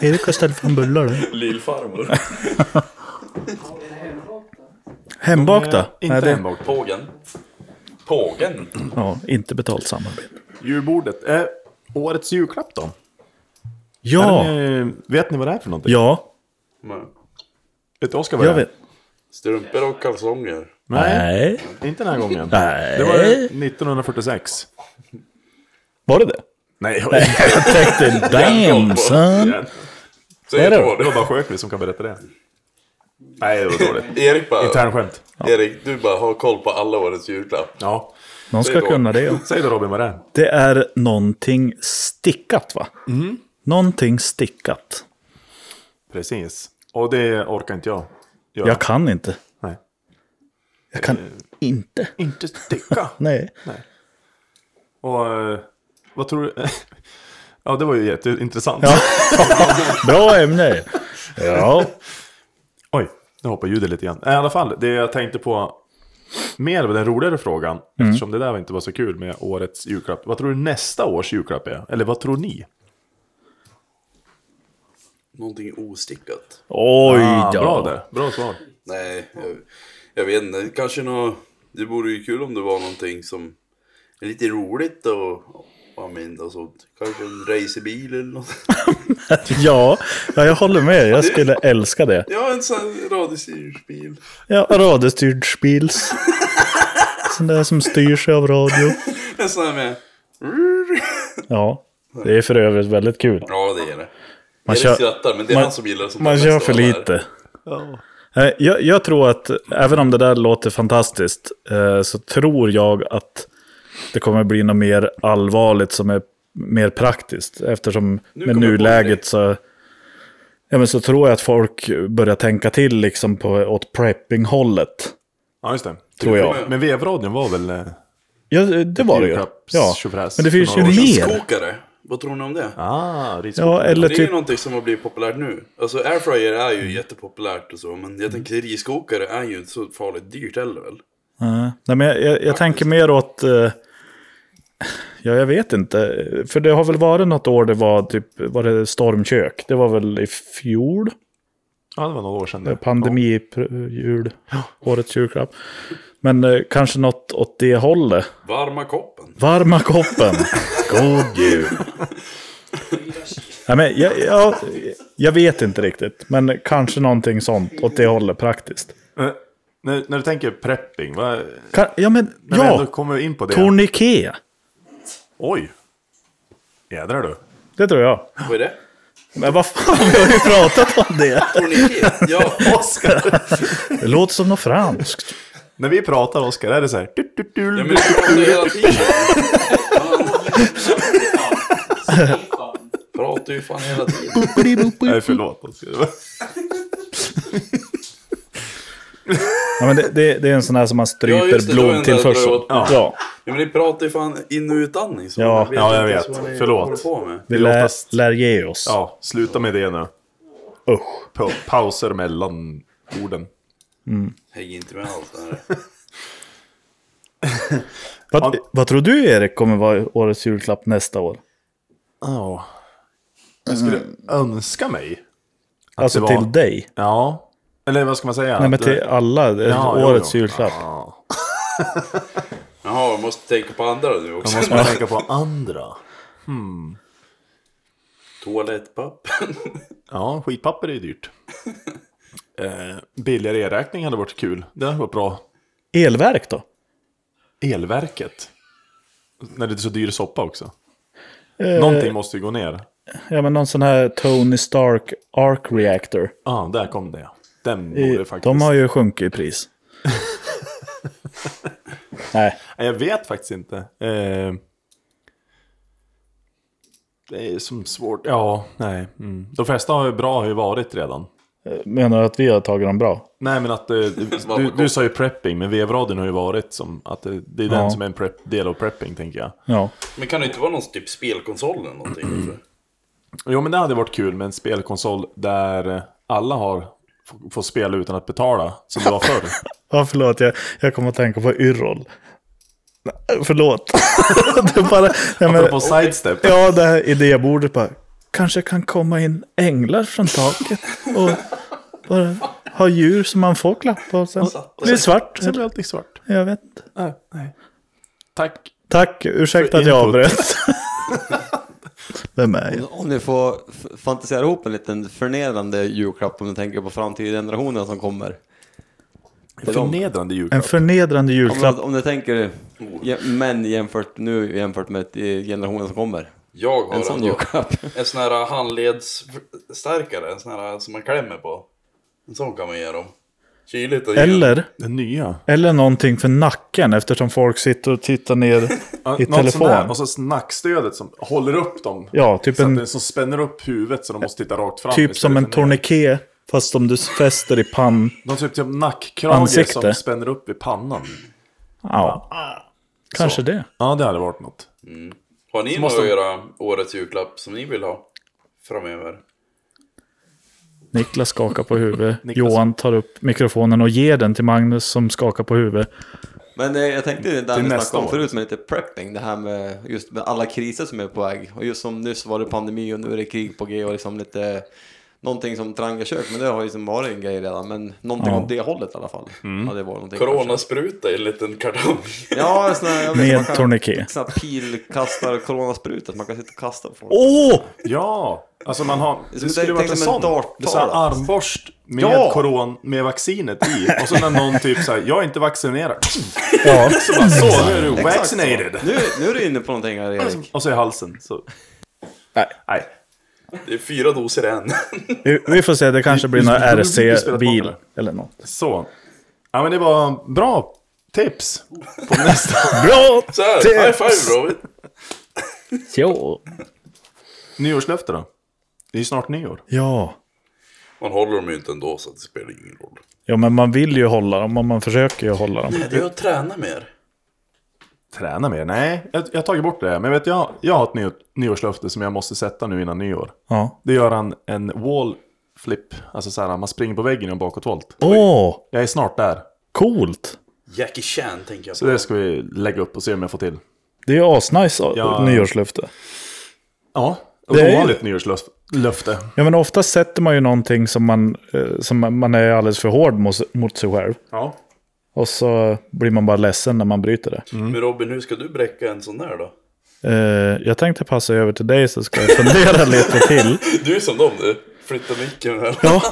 S1: Erik har ställt fram bullar. där.
S2: Lillfarmor.
S1: Hembakta?
S3: Eh, Inte
S1: Nej, det-
S3: hembakt.
S2: Pågen. Pågen?
S1: Ja, inte betalt samarbete.
S3: Julbordet. Eh, årets julklapp då?
S1: Ja,
S3: Är det, eh, vet ni vad det är för någonting?
S1: ja,
S2: Men,
S3: Vet Oskar vad
S1: jag
S3: det är?
S1: vet.
S2: Strumpor och kalsonger.
S3: Nej,
S1: Nej,
S3: inte den här gången.
S1: Nej.
S3: Det var 1946.
S1: var det det?
S3: Nej,
S1: Jag tänkte damn son.
S2: Så
S1: Är
S2: Erik
S1: det?
S2: var
S3: det var
S2: det.
S3: bara Sjökvist som kan berätta det. Nej, det var dåligt.
S2: Erik bara,
S3: Internskämt.
S2: Erik du bara har koll på alla årets julklapp.
S3: Ja.
S1: Någon ska
S2: Det går.
S1: kunna det. ja.
S3: Säg då Robin vad det är.
S1: Det är någonting stickat va? Någonting stickat.
S3: Precis. Och det orkar inte jag göra.
S1: Jag kan inte.
S3: Nej.
S1: Jag kan inte.
S3: Inte sticka.
S1: Nej.
S3: Och eh, vad tror du? *laughs* ja, det var ju jätteintressant.
S1: Bra ämne. Ja.
S3: Oj, nu hoppar ljudet lite grann. Eh, I alla fall, det jag tänkte på mer var den roligare frågan.
S1: Mm.
S3: Eftersom det där inte var så kul med årets julklapp. Vad tror du nästa års julklapp är? Eller vad tror ni?
S2: Någonting ostickat.
S1: Oj
S3: Ah,
S1: då.
S3: bra där, bra svar.
S2: Nej, jag, jag vet inte. Kanske nå. Det vore ju kul om det var någonting som är lite roligt och och använda och sånt. Kanske en racerbil eller något.
S1: Ja, ja, jag håller med. Jag skulle älska det.
S2: *laughs* Ja, en sån här radiostyrbil.
S1: Ja, radiostyrd spils. Sån där som styrs av radio.
S2: En sån här med...
S1: Ja, det är för övrigt väldigt kul.
S2: Ja, det är det.
S1: Man
S2: Erik
S1: kör-
S2: skrattar, men det är
S1: man-
S2: han som gillar det som
S1: Man
S2: mest
S1: kör
S2: av
S1: för
S2: alla här.
S1: lite. Eh, Jag, jag tror att, även om det där låter fantastiskt, eh, så tror jag att det kommer bli något mer allvarligt som är mer praktiskt. Eftersom
S2: Nu
S1: med
S2: kommer jag på en grej.
S1: nuläget så, ja, men så tror jag att folk börjar tänka till liksom på, åt prepping-hållet.
S3: Ja, just det.
S1: Tror jag.
S3: Men vevradion var väl... eh,
S1: Ja, det var det ju.
S3: julklapps-
S1: Ja.
S3: tjofräs
S1: Men det
S3: för
S1: finns ju
S3: några år
S1: mer.
S2: Riskokare. Vad tror ni om det?
S3: Ah,
S1: Ja, eller
S2: det är ju
S1: typ...
S2: någonting som har blivit populärt nu. Alltså airfryer är ju jättepopulärt och så, men jag tänker riskokare är ju inte så farligt dyrt heller väl?
S1: Nej, nej, men jag, jag, jag tänker mer åt... eh, ja, jag vet inte. För det har väl varit något år det var typ var det stormkök. Det var väl i fjol?
S3: Ja, det var några år sedan.
S1: eh,
S3: det.
S1: Pandemi, pr- jul, årets julklapp. Men eh, kanske något åt det hållet.
S2: Varma koppen.
S1: Varma koppen. *laughs* God jul. Nej, men jag, jag, jag vet inte riktigt, men kanske någonting sånt åt det hållet praktiskt.
S3: Ja. Eh, När, när du tänker prepping, vad...
S1: Ka- Ja, men
S3: När vi ändå
S1: ja,
S3: kommer in på det.
S1: tourniquet.
S3: Oj! Jädrar du.
S1: Det tror jag.
S2: Vad är det?
S1: Men vad fan, vi har ju pratat om det.
S2: Torniket? Ja,
S3: Oskar! *laughs*
S1: Det låter som något franskt.
S3: när vi pratar Oskar är det så här... Du, du, du,
S2: ja men
S3: du.
S2: det pratar ju hela tiden. Pratar ju fan hela tiden.
S3: Nej, förlåt Oskar.
S1: Ja, men det, det, det är en sån här som man stryper
S2: Ja, just det, det var den där
S1: blodtillförseln.
S2: jag drar åt.
S1: Ja.
S2: Ja men ni pratar ju fan in och utandning. Så
S1: Ja,
S2: man
S3: ja, jag
S2: inte ens
S3: vet.
S2: vad ni
S3: Förlåt.
S2: håller på med.
S1: vi
S3: Det är
S1: lär,
S3: oftast-
S1: lär ge oss.
S3: Ja, sluta med det nu.
S1: Usch.
S3: Pa pauser mellan orden.
S2: Häng inte med alls det här.
S1: Vad, vad tror du Erik kommer vara årets julklapp nästa år?
S3: Ja. Jag skulle
S1: Mm.
S3: önska mig.
S1: Alltså
S3: det var-
S1: till dig?
S3: Ja. Eller vad ska man säga?
S1: Nej men
S3: Att- eh,
S1: till alla, det är
S3: Ja, jo,
S1: årets
S3: jo.
S1: julklapp.
S3: Ja.
S2: Jaha, jag måste tänka på andra nu
S3: Då
S2: också.
S3: måste man tänka på andra.
S2: Toalettpapper.
S3: Ja, skitpapper är
S1: *laughs*
S3: ju dyrt. Eh, billigare elräkning hade varit kul. Det hade varit bra.
S1: Elverk då? Eh.
S3: Elverket. När det är så dyr soppa också. Någonting måste ju gå ner.
S1: ja, men någon sån här Tony Stark Arc Reactor.
S3: Ja, Ah, där kom det. ja. Den
S1: I,
S3: borde faktiskt...
S1: Eh, de har ju sjunkit i
S3: *laughs*
S1: pris. Nej,
S3: Nej, Jag vet faktiskt inte. Eh, det är som svårt. Ja, nej. Mm. De flesta har ju bra har ju varit redan.
S1: menar du att vi har tagit dem bra?
S3: Nej, men *laughs* att eh, du, du sa ju prepping, men vevradion har ju varit som att det, det är den
S1: Ja.
S3: som är en prep, del av prepping, tänker jag.
S1: Ja.
S2: Men kan det inte vara någon typ spelkonsol eller någonting? alltså?
S3: Jo, men det hade varit kul med en spelkonsol där eh, alla har f- får spela utan att betala, som det var *laughs* förr.
S1: Ja, förlåt, jag, jag kommer att tänka på Yrrol. Nej, Förlåt. *laughs* det är bara, jag men,
S3: Apropå *laughs* sidestep.
S1: ja, det här idébordet bara. Kanske kan komma in änglar från taket och bara ha djur som man får klappa och sen blir det svart.
S3: Sen blir allting svart.
S1: Jag vet inte.
S3: Nej, nej. Tack.
S1: Tack, ursäkta
S3: För
S1: att jag
S3: input.
S1: avbröt. Vem är jag?
S5: Om ni får f- fantisera ihop en liten förnedrande julklapp om du tänker på framtida generationer som kommer. Till dem.
S3: Förnedrande
S1: En
S3: julklapp.
S1: förnedrande
S5: Om, man-
S1: julklapp.
S5: om du tänker ja, män jämfört nu jämfört med eh, generationen som kommer.
S2: Jag har
S5: En sån
S2: ändå
S5: julklapp.
S2: *laughs* en sån här handledsstärkare, en sån här som man klämmer på. En sån kan man ge dem. Kyligt att ge dem.
S1: Eller,
S3: Den nya.
S1: eller någonting för nacken eftersom folk sitter och tittar ner
S3: Ja,
S1: i
S3: något sånt där.
S1: telefon.
S3: Och så nackstödet som håller upp dem.
S1: Ja, typ
S3: så att
S1: en
S3: den som spänner upp huvudet så de måste titta rakt fram.
S1: Typ
S3: istället
S1: som en
S3: för ner.
S1: tourniquet, fast om du fäster i pann...
S3: De typ typ nackkrage
S1: Ansikte.
S3: som spänner upp i pannan.
S1: Ja. Kanske det.
S3: Ja, det hade varit något.
S2: Har ni
S3: måste-
S2: något att göra årets julklapp som ni vill ha framöver?
S1: Niklas skakar på huvudet.
S3: *laughs* Niklas.
S1: Johan tar upp mikrofonen och ger den till Magnus som skakar på huvudet.
S5: Men eh, jag tänkte det här
S3: Till
S5: vi
S3: nästa
S5: snackade om
S3: år.
S5: förut med lite prepping, det här med just med alla kriser som är på väg. Och just som nyss var det pandemi och nu är det krig på G och liksom lite någonting som Tranga kök, men det har ju som varit en grej redan. Men någonting
S1: Ja.
S5: åt det hållet i alla fall. Ja, det var någonting kanske.
S2: Coronaspruta i en liten kartong. *laughs*
S5: Ja, sån här, jag vet,
S1: Med
S5: man kan-
S1: tourniquet.
S5: Sån här pilkastar coronasprutor, man kan sitta och kasta på folk.
S1: Åh!
S3: Ja! Alltså man har...
S5: är
S3: Det,
S5: som-
S3: skulle
S5: tänk
S3: varit en
S5: som en
S3: sån.
S5: darttal,
S3: Det är så här
S5: alltså.
S3: armborst med
S5: Ja!
S3: koron, med vaccinet i. Och så när någon typ såhär, jag är inte vaccinerad.
S1: Ja.
S3: Så bara, så nu är du
S5: Exakt så.
S3: vaccinated.
S5: Nu, nu är du inne på någonting här Erik.
S3: Och så i halsen. Så.
S1: Nej.
S3: Nej.
S2: Det är fyra doser än.
S1: Vi- Vi får se, det kanske blir
S3: Vi-
S1: någon
S3: vi- vi- vi spelar
S1: RC-bil
S3: tillbaka
S1: eller något.
S3: Så. Ja men det var bra tips. På nästa.
S1: Bra!
S2: *laughs* Så här, high five Robin!
S1: Ja.
S3: Nyårslöfte då? Det är ju snart nyår.
S1: Ja.
S2: Man håller dem ju inte ändå så att det spelar ingen roll.
S1: Ja, men man vill ju hålla dem och man försöker ju hålla dem.
S2: Det är att träna mer.
S3: Träna mer? Nej, jag, jag har tagit bort det. Men vet jag, jag har ett ny, nyårslöfte som jag måste sätta nu innan nyår.
S1: Ja.
S3: Det gör han en wall flip. Alltså så här, man springer på väggen i en bakåtvolt.
S1: Åh,
S3: Jag är snart där.
S1: coolt!
S2: Jackie Chan tänker jag
S3: Så
S2: på.
S3: det ska vi lägga upp och se om jag får till.
S1: Det är ju asnice
S3: Ja.
S1: nyårslöfte.
S3: Ja,
S1: Det är ju-
S3: ett ovanligt nyårslöfte.
S1: Ja, men ofta sätter man ju någonting som man, eh, som man- man är alldeles för hård mot, mot sig själv.
S3: Ja.
S1: Och så blir man bara ledsen när man bryter det.
S2: Men Robin, hur ska du bräcka en sån där då?
S1: Eh, jag tänkte passa över till dig så ska jag fundera *laughs* lite till.
S2: Du är som dem du. Flytta micken här.
S1: Ja,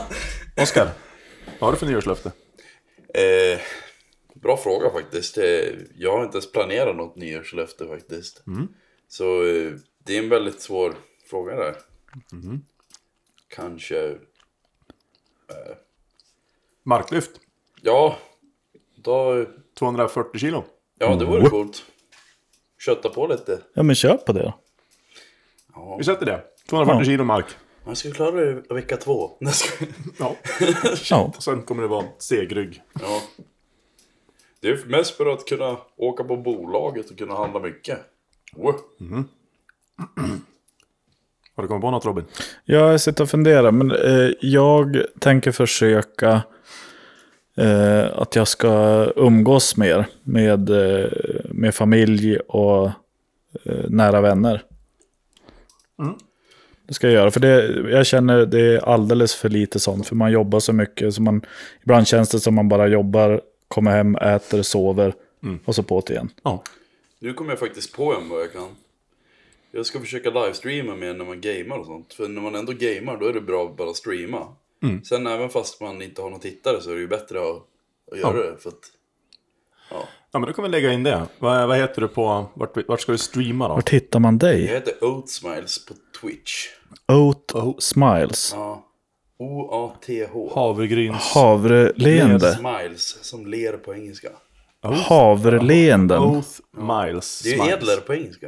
S3: Oskar, vad har du för nyårslöfte?
S2: Eh, bra fråga faktiskt. Eh, Jag har inte ens planerat något nyårslöfte faktiskt. Så eh, det är en väldigt svår fråga där. Kanske...
S3: Marklyft,
S2: Ja, då...
S3: 240 kilo.
S2: Ja, det vore coolt. Kötta på lite.
S1: ja men kör på det då.
S3: Vi sätter det. 240
S1: Ja.
S3: kilo mark.
S2: Man ska klara det vecka två. *laughs* Nej, ska-
S3: Ja.
S1: Ja.
S3: Och sen kommer det vara en segrygg.
S2: ja. Det är mest för att kunna åka på bolaget och kunna handla mycket. Wow.
S3: Har du kommit på något Robin?
S1: Jag sitter och funderar, men eh, jag tänker försöka eh, att jag ska umgås mer med, eh, med familj och eh, nära vänner. Det ska jag göra, för det, jag känner det är alldeles för lite sånt, för man jobbar så mycket. Så man, ibland känns det som man bara jobbar, kommer hem, äter, sover och så på igen.
S3: Ja.
S2: Nu kommer jag faktiskt på en vad jag kan. Jag ska försöka livestreama mer när man gamar och sånt. För när man ändå gamar då är det bra att bara streama. Sen även fast man inte har någon tittare så är det ju bättre att, att göra det. För att, ja.
S3: Ja, men då kan vi lägga in det. Vad, vad heter du på, vart, vart ska du streama då?
S1: Vart hittar man
S2: Jag
S1: dig?
S2: heter Oatsmiles på Twitch.
S1: Oat Smiles.
S2: Ja. O-A-T-H.
S3: Havregryns...
S1: Havreleende.
S2: Smiles, som ler på engelska.
S1: Havreleenden.
S3: Oath Miles.
S2: Det är ju
S3: Smiles.
S2: edler på engelska.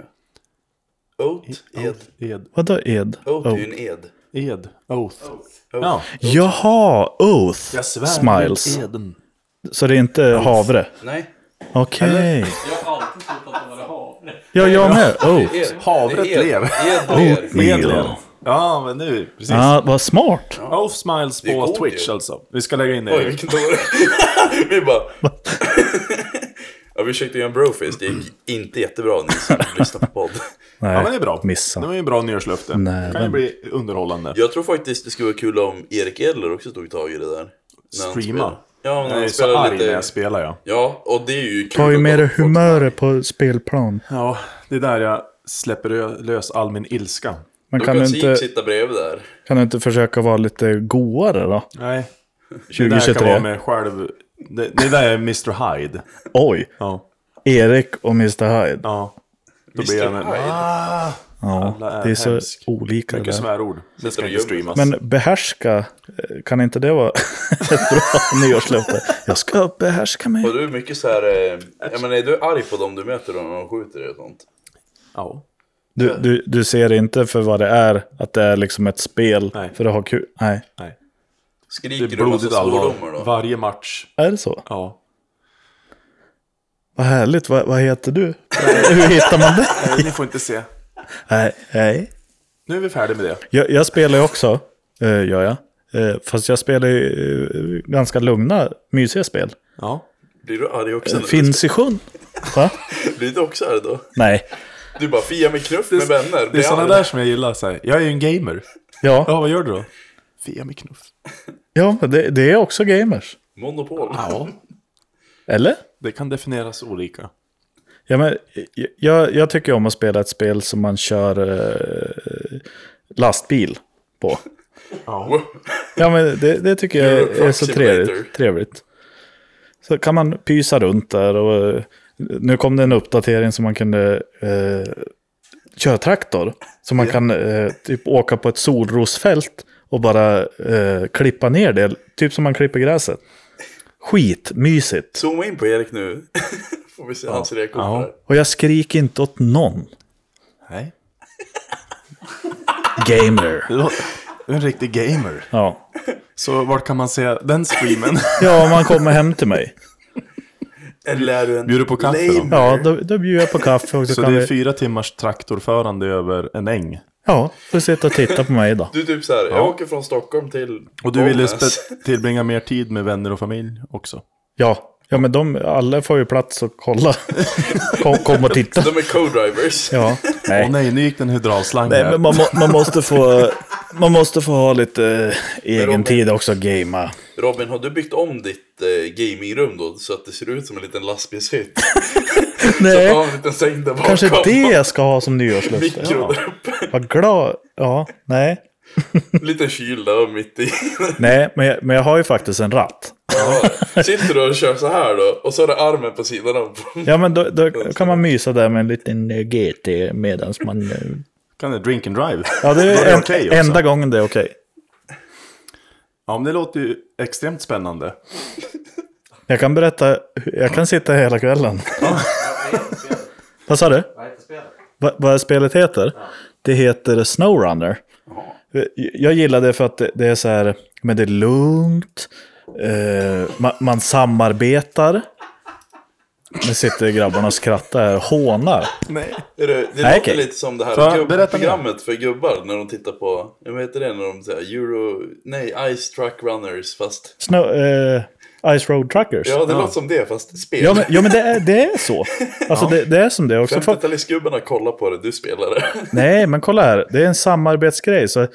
S2: Oat, ed.
S3: Ed.
S1: Vadå ed?
S2: Oat är
S1: Oat.
S2: ju en ed.
S3: Ed. Oath. Ja.
S1: Jaha, Oath
S3: Jag svär
S1: Smiles.
S3: vid Eden.
S1: Så det är inte havre?
S2: Nej.
S1: Okej.
S5: Jag har alltid trott att det var havre.
S1: Ja, jag med. Oat.
S2: Ed.
S3: Havret
S2: Det är ed.
S3: ler.
S2: Ed ler.
S1: Meal.
S3: Ja, men nu, precis.
S1: Ja, vad smart.
S3: Oath Smiles
S2: är
S3: på
S2: god ju.
S3: Twitch alltså. Vi ska lägga in det.
S2: Oj, vilken dåre. *laughs* vi bara... Jag försökte göra en brofist, det gick inte jättebra ni som lyssnar på podd. *laughs*
S3: ja, men det är bra. Det
S1: Missa.
S3: var ju en bra nyårslöfte.
S1: Nej,
S3: det kan ju
S1: men-
S3: bli underhållande.
S2: Jag tror faktiskt det skulle vara kul om Erik Edler också tog tag i det där. När han
S3: Streama.
S2: spelar. Ja, när
S3: Jag är
S2: han
S3: så
S2: spelar
S3: arg när jag
S2: lite...
S3: spelar ja.
S2: Ja, och det är ju kul.
S1: Ta ju
S2: att
S1: med dig
S2: kolla på folk som-
S1: humöret på spelplan.
S3: Ja, det är där jag släpper ö- lös all min ilska.
S1: Men
S2: Då
S1: kan
S2: kan
S1: du
S2: inte...
S1: inte,
S2: sitta bredvid där.
S1: kan du inte försöka vara lite goare då?
S3: Nej. Det där kan vara
S1: 2023.
S3: med själv... Det, det där är Mr Hyde.
S1: Oj,
S3: Ja.
S1: Erik och Mr Hyde.
S3: ja. Då
S2: Mr.
S3: blir jag med...
S2: Hyde.
S3: Ah, Alla
S1: Ja,
S3: är
S1: det är så
S3: hemsk.
S1: olika det
S3: mycket
S1: där.
S3: svärord. Det ska
S2: och
S3: inte
S2: gömmer
S3: streamas.
S1: Men behärska, eh, kan inte det vara *laughs* ett bra nyårslöfte? Jag ska behärska mig.
S2: Och du är mycket så här... Eh, jag menar, är du arg på dem du möter då när de skjuter dig och sånt?
S3: Ja.
S1: Du, du, du ser inte för vad det är, att det är liksom ett spel
S3: Nej.
S1: för att ha kul. Nej,
S3: Nej. Det
S2: Skriker
S3: är
S2: du en massa
S3: blodigt
S2: svordomar
S3: allvar.
S2: då?
S3: Varje match.
S1: är det så?
S3: Ja.
S1: Vad härligt, vad, vad heter du? *laughs* Hur hittar man det?
S3: Nej, ni får inte se.
S1: Nej, nej.
S3: Nu är vi färdiga med det.
S1: Jag, jag spelar ju också, eh, gör jag. Eh, fast jag spelar ju eh, ganska lugna, mysiga spel.
S3: Ja.
S2: Blir du arg också? när du-
S1: Finns i sjön. Va?
S2: Blir du också arg då?
S1: Nej.
S2: Du bara fia med knuff med vänner.
S3: Det är
S2: Blir
S3: sådana
S2: arg.
S3: där som jag gillar. Så här. Jag är ju en gamer.
S1: Ja,
S3: Ja, vad gör du då? Fia med knuff.
S1: ja men det, det är också gamers.
S2: Monopol.
S3: Ja.
S1: Eller?
S3: Det kan definieras olika.
S1: Ja, men, eh, jag, jag tycker om att spela ett spel som man kör eh, lastbil på.
S3: Ja.
S1: Ja, men det, det tycker jag
S2: Euro Truck
S1: är så
S2: Simulator.
S1: trevligt, trevligt. Så kan man pysa runt där och eh, nu kom det en uppdatering som man kunde eh, köra traktor. Så man kan eh, typ åka på ett solrosfält och bara eh, klippa ner det, typ som man klipper gräset. Skitmysigt.
S2: Zooma in på Erik nu. *laughs* Får vi se hans reaktion på
S3: Ja.
S2: det här.
S1: Och jag skriker inte åt någon.
S3: Nej.
S1: Gamer.
S3: Du har- du är en riktig gamer.
S1: Ja.
S3: Så vart kan man se
S1: *laughs*
S3: den streamen?
S1: ja, om man kommer hem till mig.
S2: Eller är du en
S3: Bjuder på kaffe då?
S2: lame?
S1: Ja, då, då bjuder jag på kaffe och så,
S3: Så
S1: kan
S3: det är
S1: vi...
S3: fyra timmars traktorförande över en äng.
S1: Ja, får sitta och titta på mig då.
S2: Du är typ så här, jag åker från Stockholm till
S3: Och du ville
S2: Bollnäs. *laughs*
S3: spe- tillbringa mer tid med vänner och familj också.
S1: Ja, ja men de, alla får ju plats att kolla. Kom, kom och titta.
S2: De är co-drivers.
S1: Ja.
S3: Åh
S1: Nej.
S3: nej, nu gick den hydraulslang
S1: Nej,
S3: här.
S1: men man, må- man, måste få, man måste få ha lite eh, egen
S2: Robin-
S1: tid också att gamea.
S2: Robin, har du byggt om ditt eh, gamingrum då? Så att det ser ut som en liten lastbilshytt? *laughs*
S1: Nej,
S2: Ta en liten säng där bakom.
S1: kanske
S2: *laughs*
S1: det jag ska ha som nyårslöfte.
S2: Mikro där uppe.
S1: Vad glad. Ja, nej.
S2: Liten kyl där mitt i.
S1: Nej, men jag, men jag har ju faktiskt en ratt.
S2: Ja. *laughs* Sitter du och kör så här då? Och så är det armen på sidan om.
S1: Ja, men då, då kan man mysa där med en liten eh, GT medan man... eh,
S3: Kan det drink and drive?
S1: Ja, det
S3: Då
S1: är,
S3: är det okej också.
S1: en, enda gången det är okej.
S3: Ja, men det låter ju extremt spännande.
S1: Jag kan berätta, jag kan sitta hela
S5: *laughs*
S1: kvällen. *laughs* Vad sa du?
S5: Vad heter spelet?
S1: Va- vad spelet heter? Det heter Snowrunner. Eh, Jag gillar det för att det, det är så här, men det är lugnt, eh, man, man samarbetar. Nu sitter grabbarna och skrattar här, hånar.
S3: Nej.
S2: Är det det
S1: Nej,
S2: låter
S1: okej.
S2: lite som det
S3: Får
S2: här
S3: jag
S2: gubb-
S3: berätta mer?
S2: programmet för gubbar när de tittar på, vad heter det när de säger Euro, nej Ice Truck Runners fast,
S1: Snow, eh, Ice Road Truckers.
S2: ja
S1: Ja,
S2: det låter som det fast spel.
S1: men, ja, men det, är, det är så. Alltså det, det är som det också. För,
S2: 50-talistgubbarna kollar på det, du spelar det. *laughs*
S1: Nej, men kolla här. Det är en samarbetsgrej. Så, eh,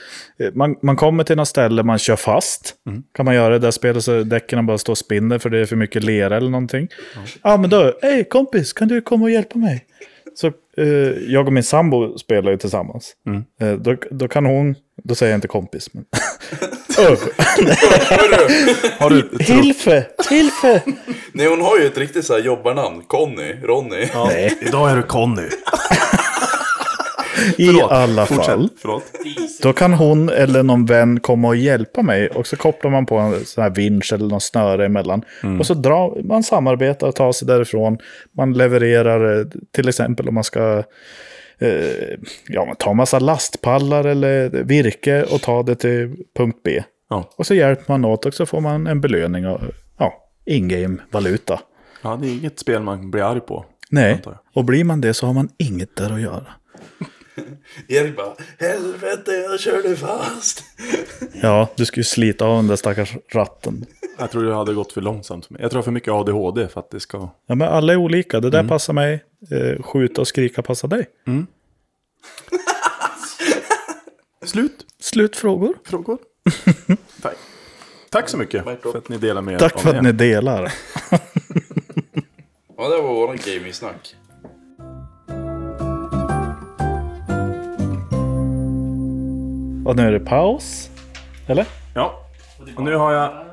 S1: man, man kommer till något ställe, man kör fast.
S3: Mm.
S1: Kan man göra det där spelet så däcken bara står och spinner för det är för mycket lera eller någonting. Ja, men då, hej kompis, kan du komma och hjälpa mig?
S3: Mm.
S1: Så eh, jag och min sambo spelar ju tillsammans. Eh, då, då kan hon Då säger jag inte kompis.
S3: *laughs*
S1: Men... Öh,
S3: Har du trupp?
S1: Hilfe! Hilfe!
S2: Nej, hon har ju ett riktigt så här jobbarnamn. Conny, Ronny. *laughs*
S3: Ja, idag är du Conny.
S1: I
S3: Förlåt,
S1: alla
S3: fortsätt.
S1: fall.
S3: Förlåt.
S1: Då kan hon eller någon vän komma och hjälpa mig. Och så kopplar man på en sån här vinsch eller någon snöre emellan.
S3: Mm.
S1: Och så drar man samarbetar och tar sig därifrån. Man levererar eh, till exempel om man ska eh, ja, man tar massa lastpallar eller virke och tar det till punkt B.
S3: Ja.
S1: Och så hjälper man åt och så får man en belöning och ja, in-game valuta.
S3: ja, det är inget spel man blir arg på.
S1: Nej,
S3: Antar jag.
S1: och blir man det så har man inget där att göra.
S2: Erik bara, helvete jag körde fast.
S1: Ja, du ska ju slita av den där stackars ratten.
S3: Jag tror det hade gått för långsamt för mig. Jag tror jag har för mycket ADHD för att det ska...
S1: Ja, men alla är olika. Det där passar mig. Eh, skjuta och skrika passar dig.
S3: Slut.
S1: Slutfrågor. *laughs*
S3: Frågor? Tack. Tack så mycket för att ni delar med er
S1: Tack
S3: av
S1: för
S3: det.
S1: att ni delar.
S2: Ja, det var våran gaming-snack.
S1: Och nu är det paus. Eller?
S3: Ja, och nu har jag,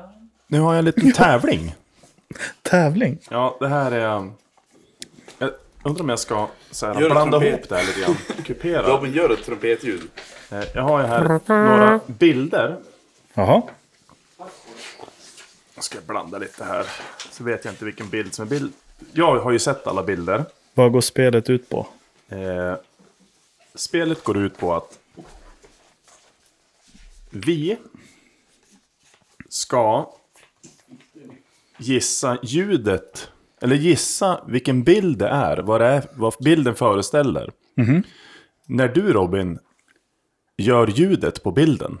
S3: nu har jag en liten tävling.
S1: Tävling.
S3: Ja, det här är... um, Jag undrar om jag ska så här,
S2: Gör en
S3: blanda
S2: trumpet.
S3: ihop det här lite grann. Kupera.
S2: Robin gör ett trumpetljud.
S3: Eh, Jag har ju här några bilder.
S1: Jaha.
S3: Jag ska blanda lite här. Så vet jag inte vilken bild som är bild. Jag har ju sett alla bilder.
S1: Vad går spelet ut på?
S3: Eh, spelet går ut på att vi ska gissa ljudet, eller gissa vilken bild det är, vad, det är, vad bilden föreställer. När du Robin gör ljudet på bilden.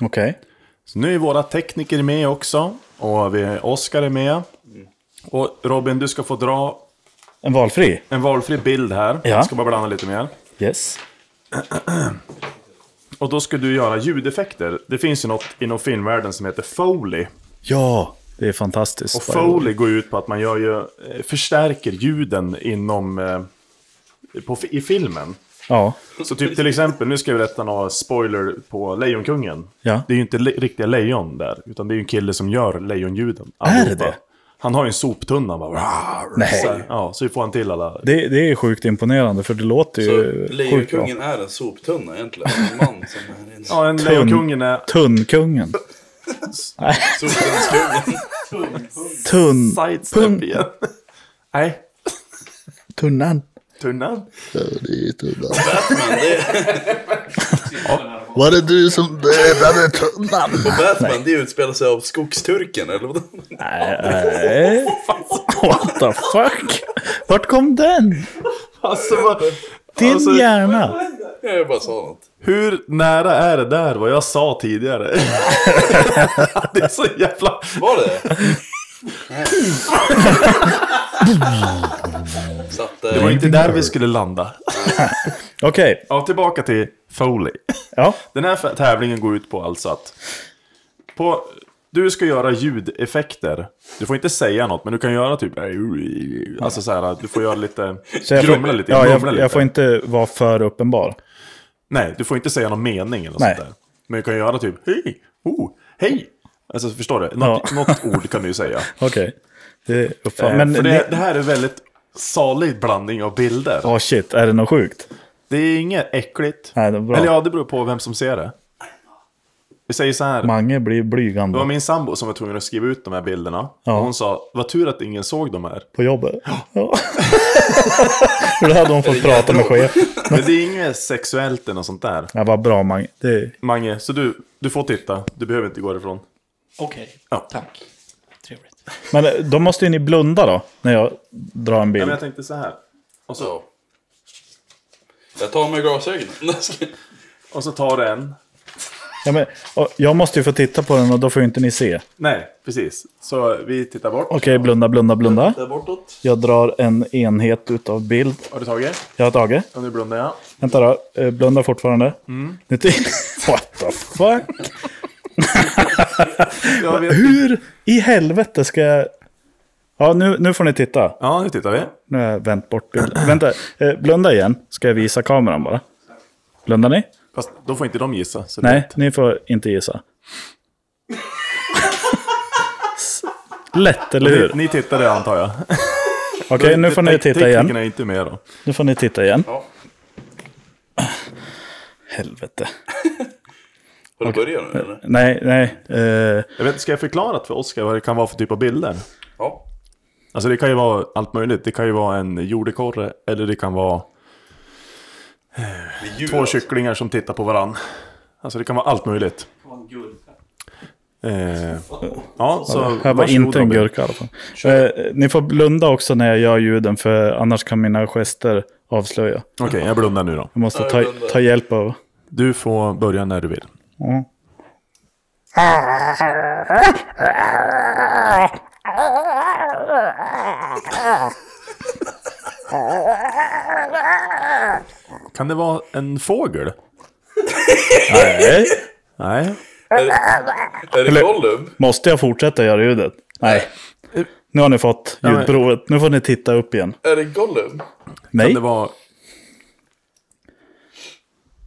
S1: Okej.
S3: Så nu är våra tekniker med också, och vi, Oskar är med. Och Robin, du ska få dra
S1: En valfri?
S3: en valfri bild här.
S1: Ja.
S3: Jag ska bara blanda lite mer.
S1: Yes.
S3: Och då ska du göra ljudeffekter. Det finns ju något inom filmvärlden som heter Foley.
S1: Ja, det är fantastiskt.
S3: Och Foley går ut på att man gör ju, eh, förstärker ljuden inom, eh, på, fi- i filmen.
S1: Ja.
S3: Så typ till exempel, nu ska jag berätta några spoiler på Lejonkungen.
S1: Ja.
S3: Det är ju inte le- riktiga lejon där, utan det är ju en kille som gör lejonljuden. Allihopa.
S1: det?
S3: Han har ju en soptunna bara. "Rar."
S1: Nej.
S3: Så, här, ja, så får han till alla.
S1: Det, det är sjukt imponerande för det låter
S2: Så
S1: ju sjukt bra.
S2: Lejonkungen är en soptunna egentligen. En man som är en
S3: Ja, en lejonkungen är
S1: Tunnkungen.
S2: soptunnskungen.
S1: Tunn.
S3: sidestep igen. *laughs* Nej,
S4: Tunnan.
S3: tunnan.
S4: Ja, det är tunnan.
S2: Batman, det är,
S4: Var det du som dödade tunnan?
S2: Batman, det utspelar sig av skogsturken eller vad? *laughs*
S1: Nej. What the fuck? Vart kom den?
S3: Alltså, vad-
S1: Din
S3: Alltså-
S1: hjärna.
S2: Jag bara sa något.
S3: Hur nära är det där vad jag sa tidigare? *laughs* det är så jävla...
S1: *laughs*
S2: Var det Satt eh,
S3: Det var
S2: där.
S3: inte där vi skulle landa.
S1: Okej.
S3: Ja, tillbaka till Foley.
S1: Ja.
S3: Den här f- tävlingen går ut på alltså att... På, du ska göra ljudeffekter. Du får inte säga något, men du kan göra typ... Alltså så här, du får göra lite...
S1: Så jag
S3: grumla
S1: får,
S3: lite,
S1: ja,
S3: mumla
S1: jag,
S3: lite.
S1: jag får inte vara för uppenbar.
S3: Nej, du får inte säga någon mening eller något
S1: Nej.
S3: sånt där. Men du kan göra typ... Hej! Oh! Hej! Alltså, förstår du? Något, något ord kan du ju säga.
S1: Okej. Det uppfattar
S3: Eh,
S1: Men
S3: för
S1: det...
S3: det, det här är väldigt salig blandning av bilder.
S1: Åh shit, är det något sjukt?
S3: Det är inget äckligt.
S1: Nej, det är bra.
S3: Eller ja, det beror på vem som ser det. Vi säger så här.
S1: Mange blir
S3: Det var
S1: blygande
S3: min sambo som var tvungen att skriva ut de här bilderna.
S1: Ja.
S3: Och hon sa, vad tur att ingen såg de här.
S1: på jobbet. Ja. *laughs* För då hade hon fått prata med chefen.
S3: Men det är inget sexuellt eller något sånt där.
S1: Ja, vad bra Mange. Det...
S3: Mange, så du, du får titta. Du behöver inte gå ifrån.
S6: Okej,
S3: Ja.
S6: tack. Trevligt.
S1: Men eh, då måste ju ni blunda då, när jag drar en
S3: Men
S1: bild.
S3: jag tänkte så här. Och så,
S2: Ja. Jag tar med glasögonen. *laughs*
S3: och så tar du en.
S1: Ja, men, och jag måste ju få titta på den och då får ju inte ni se.
S3: Nej, precis. Så vi tittar bort.
S1: Okej, blunda, blunda, blunda.
S2: Där bortåt.
S1: Jag drar en enhet utav bild.
S3: Har du tagit?
S1: Jag har tagit.
S3: Och nu blundar jag.
S1: Vänta då, eh, blunda fortfarande. Nu till- What the fuck?
S3: jag vet.
S1: Hur i helvete ska jag... Ja, nu, nu får ni titta.
S3: Ja, nu tittar vi.
S1: Nu har jag vänt bort bilden. Vänta, eh, blunda igen. Ska jag visa kameran bara? Blundar ni?
S3: Fast då får inte de gissa. Så det är
S1: Nej,
S3: lätt.
S1: ni får inte gissa. S- Lätt, eller hur?
S3: Ni, ni tittade antar jag.
S1: Okej, nu får ni titta
S3: Teknikerna
S1: igen.
S3: är inte med då.
S1: Nu får ni titta igen.
S2: Ja.
S1: Helvete.
S2: Har du börjat nu eller?
S1: Nej, nej. eh,
S3: Jag vet, inte, ska jag förklara för Oskar vad det kan vara för typ av bilder?
S2: Ja.
S3: Alltså det kan ju vara allt möjligt. Det kan ju vara en jordekorre eller det kan vara
S2: Det är djur,
S3: två
S2: alltså.
S3: kycklingar som tittar på varann. Alltså det kan vara allt möjligt. Eh, ja, så
S1: här var
S3: varsågod,
S1: inte en
S3: Robin.
S1: gurka i alla fall. Eh, ni får blunda också när jag gör ljuden, för annars kan mina gester avslöja.
S3: Okej, jag blundar nu då.
S1: Jag måste
S2: Ja,
S1: ta,
S2: jag blundar.
S1: ta hjälp av...
S3: Du får börja när du vill.
S1: Mm.
S3: Kan det vara en fågel?
S1: Nej.
S3: Nej.
S2: Är det Gollum?
S1: Måste jag fortsätta göra ljudet? Nej. Nu har ni fått
S3: men-
S1: ljudprovet. Nu får ni titta upp igen.
S2: Är det Gollum?
S3: Kan
S1: Nej,
S3: det vara...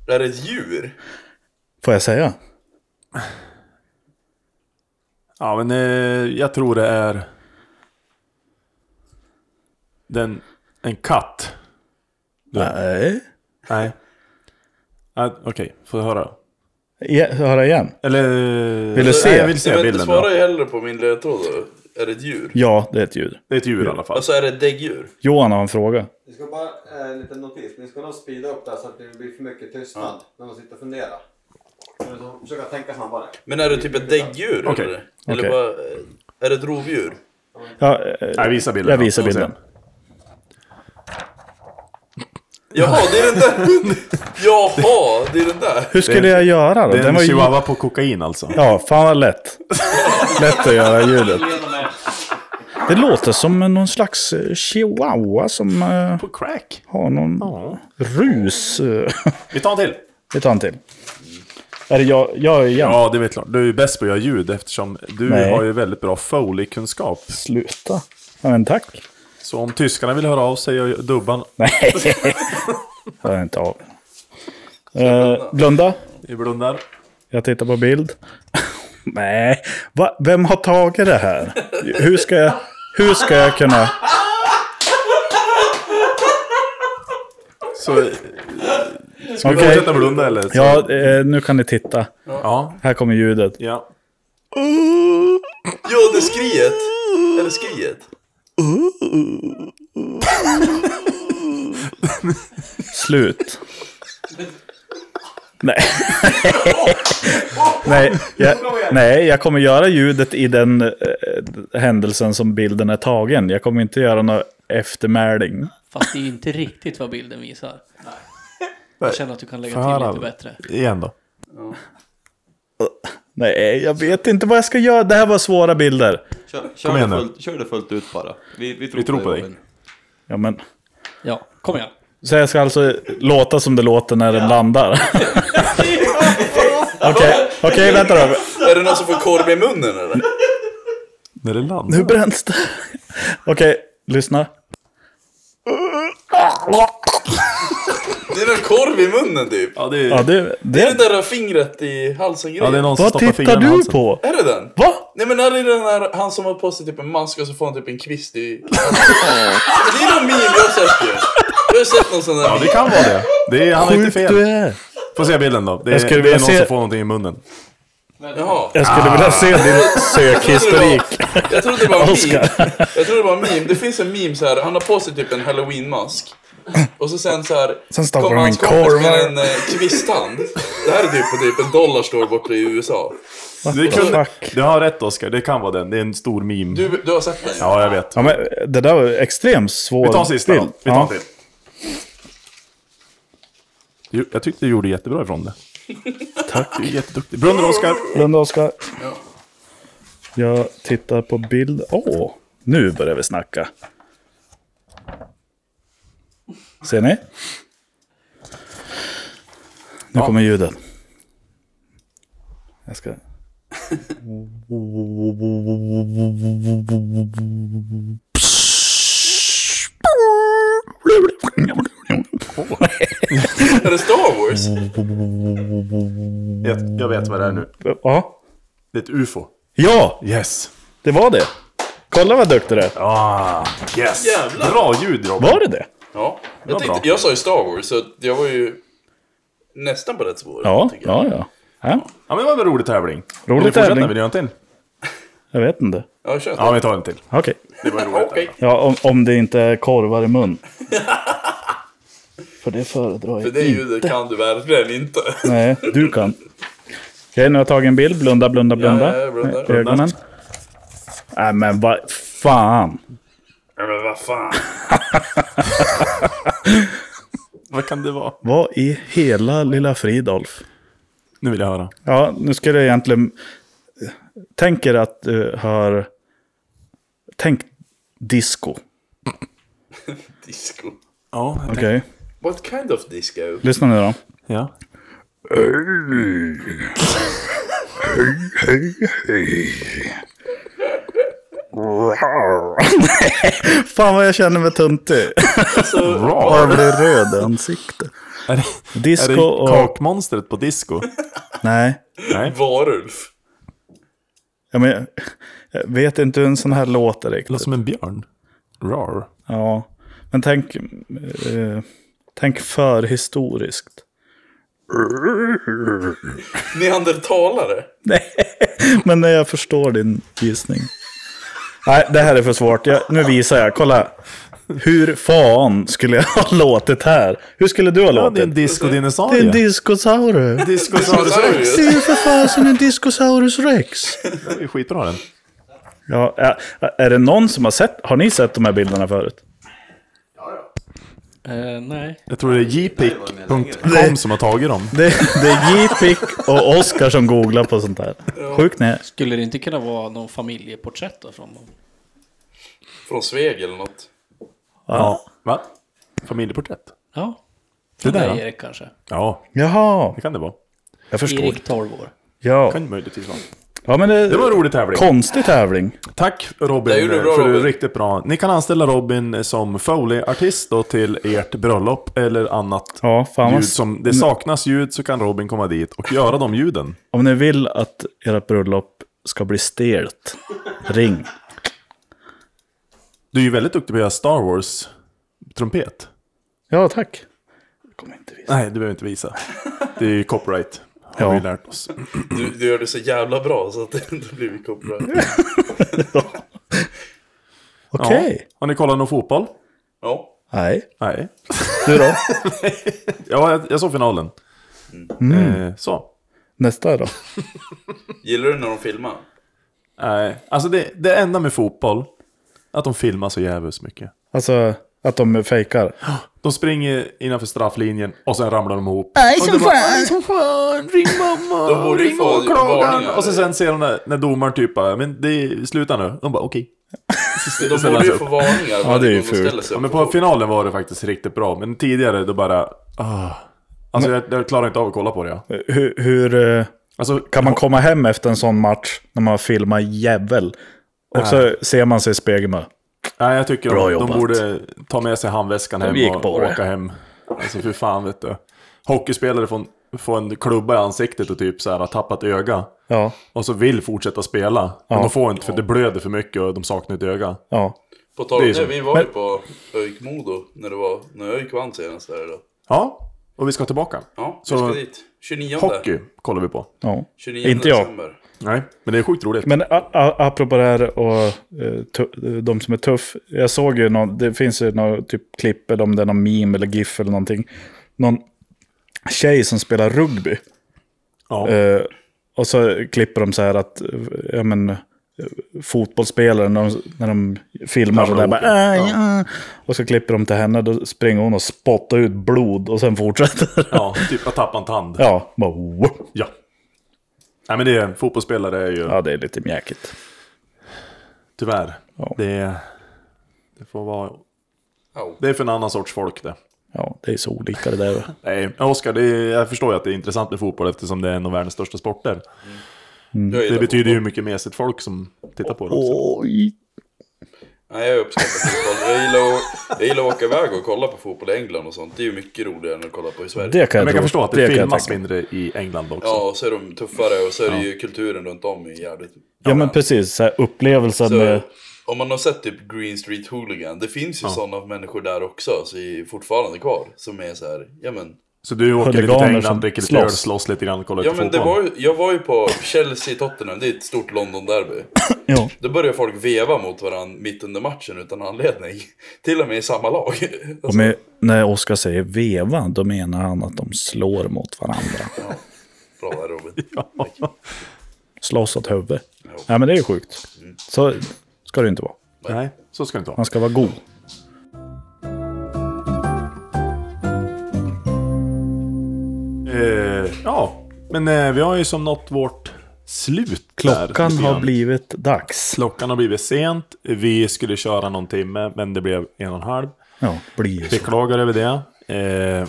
S2: Är det ett djur?
S1: får jag säga?
S3: Ja, men eh, jag tror det är... Den... En katt.
S1: Nej.
S3: Nej. Ah, Okej, får jag höra?
S1: Ja, E- höra igen.
S3: Eller...
S1: Vill du se?
S3: Nej, jag vill se
S2: Jag vet,
S3: bilden.
S2: svara
S3: Då.
S2: ju hellre på min ledtråd då. Är det ett djur?
S1: Ja, det är ett ljud.
S3: Det är ett djur i alla fall.
S2: Alltså är det ett däggdjur?
S1: Johan har en fråga.
S5: Ni ska bara, eh, en liten notis, ni ska nog speeda upp där så att det blir för mycket tystnad när man sitter och funderar. Men så Försöka tänka snabbare.
S2: Men är det typ ett däggdjur
S3: Okej.
S2: eller? Eller
S1: Okej.
S2: bara, eh, är det ett rovdjur?
S1: Ja, eh,
S3: Nej, visa bilden.
S1: jag
S3: då.
S1: visar
S3: Får se.
S1: bilden.
S2: Jaha, det är den där! *laughs* Jaha, det är den där!
S1: Hur skulle jag göra då?
S3: Det är
S1: Den
S3: en
S1: var ju...
S3: chihuahua på kokain alltså.
S1: Ja, fan vad lätt. Lätt att göra ljudet. Det låter som någon slags eh, chihuahua som eh,
S3: På crack.
S1: har någon rus. *laughs* eh.
S3: Vi tar en till.
S1: Vi tar en till. Är det jag, jag är igen?
S3: Ja, det är väl klart. Du är ju bäst på att göra ljud eftersom du
S1: Nej.
S3: har ju väldigt bra Foley-kunskap.
S1: Sluta. Ja, men tack.
S3: Så om tyskarna vill höra av sig och dubban...
S1: Nej, det är inte av. Eh, blunda.
S3: Vi blundar.
S1: Jag tittar på bild. *laughs* Nej, Va? vem har tagit det här? Hur ska jag, hur ska jag kunna...
S3: Så... Ska vi
S1: Okej.
S3: fortsätta blunda eller? Så...
S1: Ja, eh, nu kan ni titta.
S3: Ja.
S1: Här kommer ljudet.
S3: ja.
S2: Ja, det är skriet! Är det skriet?
S1: Slut. Nej. nej, jag, nej, jag kommer göra ljudet i den eh, händelsen som bilden är tagen. Jag kommer inte göra någon eftermäling.
S6: Fast det är ju inte riktigt vad bilden visar. Jag känner att du kan lägga
S3: Får jag
S6: till
S3: höra?
S6: lite bättre.
S3: Igen då.
S1: Nej, jag vet inte vad jag ska göra. Det här var svåra bilder.
S5: Kör,
S3: Kom
S5: kör, det,
S3: igen nu.
S5: fullt, kör det fullt ut bara. Vi, vi tror,
S3: Vi tror på dig.
S5: Robin.
S1: Ja, men...
S6: Ja, kom igen.
S1: Så jag ska alltså låta som det låter när den
S3: *laughs*
S1: landar? Okej, okej, vänta då.
S2: Är det någon som får korv i munnen eller?
S3: När det landar.
S1: Nu bränns det. Okej, lyssna.
S2: Det är någon korv i munnen typ!
S3: Ja, det är...
S1: Ja, det,
S2: Det är
S1: det,
S2: det där fingret i halsen
S3: Ja, det är
S2: grejen.
S3: någon som
S1: vad
S3: stoppar
S1: tittar
S3: fingrarna i
S1: du
S3: halsen.
S1: på?
S2: Är det den?
S1: Va?
S2: Nej men är det den där, han som har på sig typ en mask och så får han typ en
S1: *laughs*
S2: kvist i Det är någon meme jag har sett ju! Jag har sett någon sån där
S3: Ja,
S2: meme.
S3: det kan vara det. det är, han har inte
S1: Sjukt du
S3: fel.
S1: är.
S3: Får se bilden då. Det
S1: Jag
S3: är,
S1: skulle
S3: det är
S1: vilja
S3: någon
S1: se-
S3: som får någonting i munnen.
S2: Jaha.
S1: Jag skulle vilja se
S3: Ah.
S1: din sökhistorik.
S2: *laughs* Jag trodde det var en meme.
S1: Oscar.
S2: Jag trodde det var en meme. Det finns en meme så här. Han har på sig typ en halloween-mask. Och så sen så här.
S1: Sen stoppar
S2: kommer
S1: de
S2: hans
S1: in
S2: kompis
S1: korvar.
S2: med en eh, kvisthand. Det här är typ på typ en dollar står borta i USA.
S3: Det
S1: the
S3: kunde...
S1: fuck?
S3: Du har rätt Oskar, det kan vara den. Det är en stor meme.
S2: Du, du har sett den?
S3: Ja, jag vet.
S1: Ja, men det där var extremt svår
S3: Vi tar sista då.
S1: bild.
S3: Vi tar en
S1: Ja.
S3: till. Jo, Jag tyckte du gjorde jättebra
S2: *laughs*
S3: ifrån det. Tack. Du är jätteduktig. Brunner Oskar.
S1: Blunda Oskar. Jag tittar på bild. Åh, nu börjar vi snacka. Ser ni? Nu kommer ljudet. Jag ska...
S3: *laughs*
S2: Är det Star Wars?
S1: Mm.
S3: Jag, jag vet vad det är nu.
S1: Ja.
S3: Det är ett UFO.
S1: Ja,
S3: Yes.
S1: det var det. Kolla vad duktig du är.
S3: Ah, yes.
S2: Jävlar.
S3: Bra ljud Robin.
S1: Var det det?
S2: Ja.
S3: var
S2: Jag, tänkte,
S3: bra.
S2: jag sa ju Star Wars, så att jag var ju nästan på rätt spår.
S1: Ja,
S2: tycker jag.
S1: ja, ja. ja.
S3: Ja, men det var en rolig tävling.
S1: Rolig
S3: Vill du fortsätta?
S1: tävling.
S3: Vill du göra en till?
S1: Jag vet inte.
S2: Ja, kör.
S3: Ja, vi tar en till.
S1: Okej.
S3: Det var en rolig
S2: Okej.
S3: tävling.
S1: Ja, om, om det inte är korvar i
S2: *laughs*
S1: mun. För det föredrar
S2: För
S1: jag
S2: det
S1: inte.
S2: ljudet kan du verkligen inte.
S1: Nej, du kan. Okej, nu har jag tagit en bild. Blunda, blunda, blunda.
S2: Ja, ja, blunda,
S1: Med Ögonen. Nej, men vad fan.
S2: Ja, men vad fan.
S3: Vad kan det vara?
S1: Vad i hela lilla Fridolf?
S3: Nu vill jag höra.
S1: Ja, nu skulle jag egentligen... Tänker att du hör... Tänk disco.
S2: Disco.
S3: Ja. jag tänkte-
S1: Okej,
S2: What kind of disco?
S1: lyssna nu då.
S3: Ja.
S1: Fan vad jag känner mig tuntig.
S2: Alltså,
S1: Jag blir röd i ansiktet.
S3: Är det, är det
S1: Disco och...
S3: kakmonstret på disco?
S1: Nej.
S3: *laughs* Nej.
S2: varulv.
S1: Ja, men jag, jag vet inte hur en sån här låter
S3: Det
S1: riktigt.
S3: låter som en björn. Rar.
S1: Ja, men tänk, eh, tänk för historiskt.
S2: Neandertalare.
S1: Men nej, jag förstår din gissning. Nej, det här är för svårt. Jag, nu visar jag. Kolla. Hur fan skulle jag *laughs* ha låtit här? Hur skulle du ha
S3: Ja, det är en
S1: låtit? Det är en
S3: discodinosaurie.
S1: diskosaurus.
S3: Discosaurus rex.
S1: Det är ju för fan som en diskosaurus rex.
S3: Det är ju skitbra den.
S1: Ja, ä- är det någon som har sett? Har ni sett de här bilderna förut?
S6: Eh, nej.
S3: Jag tror det är jpick.com som har tagit dem.
S1: Det, det är J-Pick och Oscar som googlar på sånt här. Sjukt nej.
S6: Skulle det inte kunna vara någon familjeporträtt då från dem?
S2: Från Sveg eller något.
S1: Ja.
S3: Va? Familjeporträtt?
S6: Ja.
S3: Det
S6: Från
S3: där,
S6: dig
S3: ja.
S6: Erik kanske?
S3: Ja,
S1: Jaha,
S3: det kan det vara.
S1: jag förstår.
S6: Erik 12 år.
S1: Ja,
S3: Kan ju möjligtvis vara.
S1: ja men det,
S3: Det var en rolig tävling.
S1: konstig tävling.
S3: Tack Robin
S2: Det gjorde du bra,
S3: för
S2: Robin.
S3: riktigt bra. Ni kan anställa Robin som Foley-artist då till ert bröllop eller annat.
S1: Ja, fan vad...
S3: Ljud som, det saknas ljud så kan Robin komma dit och göra de ljuden.
S1: Om ni vill att ert bröllop ska bli stelt, ring.
S3: Du är ju väldigt duktig på att göra Star Wars-trumpet.
S1: Ja, tack. Jag kommer inte visa.
S3: Nej, det behöver vi inte visa. Det är ju copyright. Har
S1: Ja.
S3: vi lärt oss.
S2: Du, du gör det så jävla bra så att *laughs* det inte blir kopplad.
S1: Okej.
S3: Ja. Har ni kollat någon fotboll?
S2: Ja.
S1: Nej.
S3: Nej.
S1: Du *laughs* då?
S3: Ja, jag, jag såg finalen.
S2: Mm.
S3: Eh, så.
S1: Nästa då?
S2: Gillar du när de filmar?
S3: Nej. Alltså det, det enda med fotboll, att de filmar så jävligt mycket.
S1: Alltså, att de fejkar.
S3: De springer innanför strafflinjen och sen ramlar de ihop. Nej som fan! Nej som fan! Ring mamma!
S2: De borde ju
S3: ring
S2: få varningar.
S3: åklagaren! Och så sen ser de när, när domaren typ bara, men det är, sluta nu. De bara okej.
S2: De
S3: ställer
S2: borde ju
S3: sig
S2: få
S3: upp.
S2: varningar.
S1: Ja, det är ju fult.
S3: Ja, men på finalen var det faktiskt riktigt bra, men tidigare då bara... Ah. Alltså jag, jag klarar inte av att kolla på det. Ja.
S1: Hur, hur eh,
S3: Alltså,
S1: kan man komma hem efter en sån match när man har filmat jävel? Och så ser man sig i spegeln med.
S3: Nej, jag tycker
S1: Bra
S3: de, de
S1: jobbat.
S3: borde ta med sig handväskan hem
S1: gick
S3: och
S1: på det.
S3: åka hem. Alltså för fan vet du. Hockeyspelare får en, får en klubba i ansiktet och typ så här har tappat öga.
S1: Ja,
S3: Och så vill fortsätta spela. Men
S1: Ja.
S3: de får inte för det blöder för mycket och de saknar ett öga.
S1: ja.
S2: På tal om
S3: Det är
S2: det,
S3: så.
S2: vi var ju
S1: Men-
S2: på ÖIK-Modo när det var, när ÖIK vann senast där då.
S3: Ja, och vi ska tillbaka.
S2: Ja, vi
S3: Så-
S2: ska dit. 29.
S3: Hockey kollar vi på.
S1: ja.
S2: 29
S1: Inte jag.
S2: december.
S3: Nej, men det är sjukt roligt.
S1: Men a- a- apropå det här och eh, tu- de som är tuff. Jag såg ju någon, det finns ju någon typ klipp eller om det är någon meme eller GIF eller någonting. Någon tjej som spelar rugby.
S3: Ja.
S1: Eh, och så klipper de så här att, eh, ja men, eh, fotbollsspelare när de, när de filmar så där bara, "Aj, ja. Och så klipper de till henne, då springer hon och spottar ut blod och sen
S3: *laughs*
S1: fortsätter.
S3: ja, typ jag tappade en tand. Ja.
S1: ja, bara, wow.
S3: Nej men det är, fotbollsspelare är ju
S1: ja, det är lite mjäkigt.
S3: tyvärr.
S1: Ja.
S3: Det, är- det får vara...
S2: Au.
S3: Det är för en annan sorts folk det.
S1: Ja, det är så olika det där.
S3: Nej, Oskar, det är, jag förstår ju att det är intressant med fotboll eftersom det är en av världens största sporter.
S2: Jag
S3: Det
S2: gillar
S3: betyder ju hur mycket mesigt folk som tittar på det också.
S1: Oj.
S2: Nej, jag uppskattar fotboll. Jag gillar, att, jag gillar att åka iväg och kolla på fotboll i England och sånt. Det är ju mycket roligare än att kolla på i Sverige.
S1: Det kan jag,
S3: Men jag
S1: tro.
S3: kan förstå att det,
S1: kan jag
S3: filmas
S1: tänka.
S3: mindre i England också.
S2: Ja, och så är de tuffare och så är det ju kulturen runt om är jävligt...
S1: Ja men precis, så här, upplevelsen med...
S2: Så, om man har sett typ Green Street Hooligan, det finns ju sådana människor där också, så är fortfarande kvar, som är så här, ja men...
S3: Så du åker lite till
S1: Huliganer som
S3: England, dricker lite öl,
S1: slåss.
S3: slåss lite grann, kollar
S2: Ja
S3: lite
S2: men det
S3: fotboll.
S2: var ju, jag var ju på Chelsea-Tottenham, det är ett stort London-derby.
S1: Ja.
S2: Då började folk veva mot varandra mitt under matchen utan anledning. *laughs* Till och med i samma lag. *laughs*
S1: Och med, när Oskar säger veva, då menar han att de slår mot varandra.
S2: Bra där Robin.
S1: Slåss åt huvudet. Ja men det är ju sjukt. Så ska det ju inte vara.
S3: Nej, så ska det inte vara.
S1: Man ska vara god.
S3: Eh, ja, men eh, vi har ju som nått vårt slut där,
S1: Klockan
S3: lite
S1: har
S3: grann.
S1: blivit dags.
S3: Klockan har blivit sent. Vi skulle köra någon timme, men det blev en och en halv.
S1: Ja, blir ju så.
S3: Beklagar över det. Eh,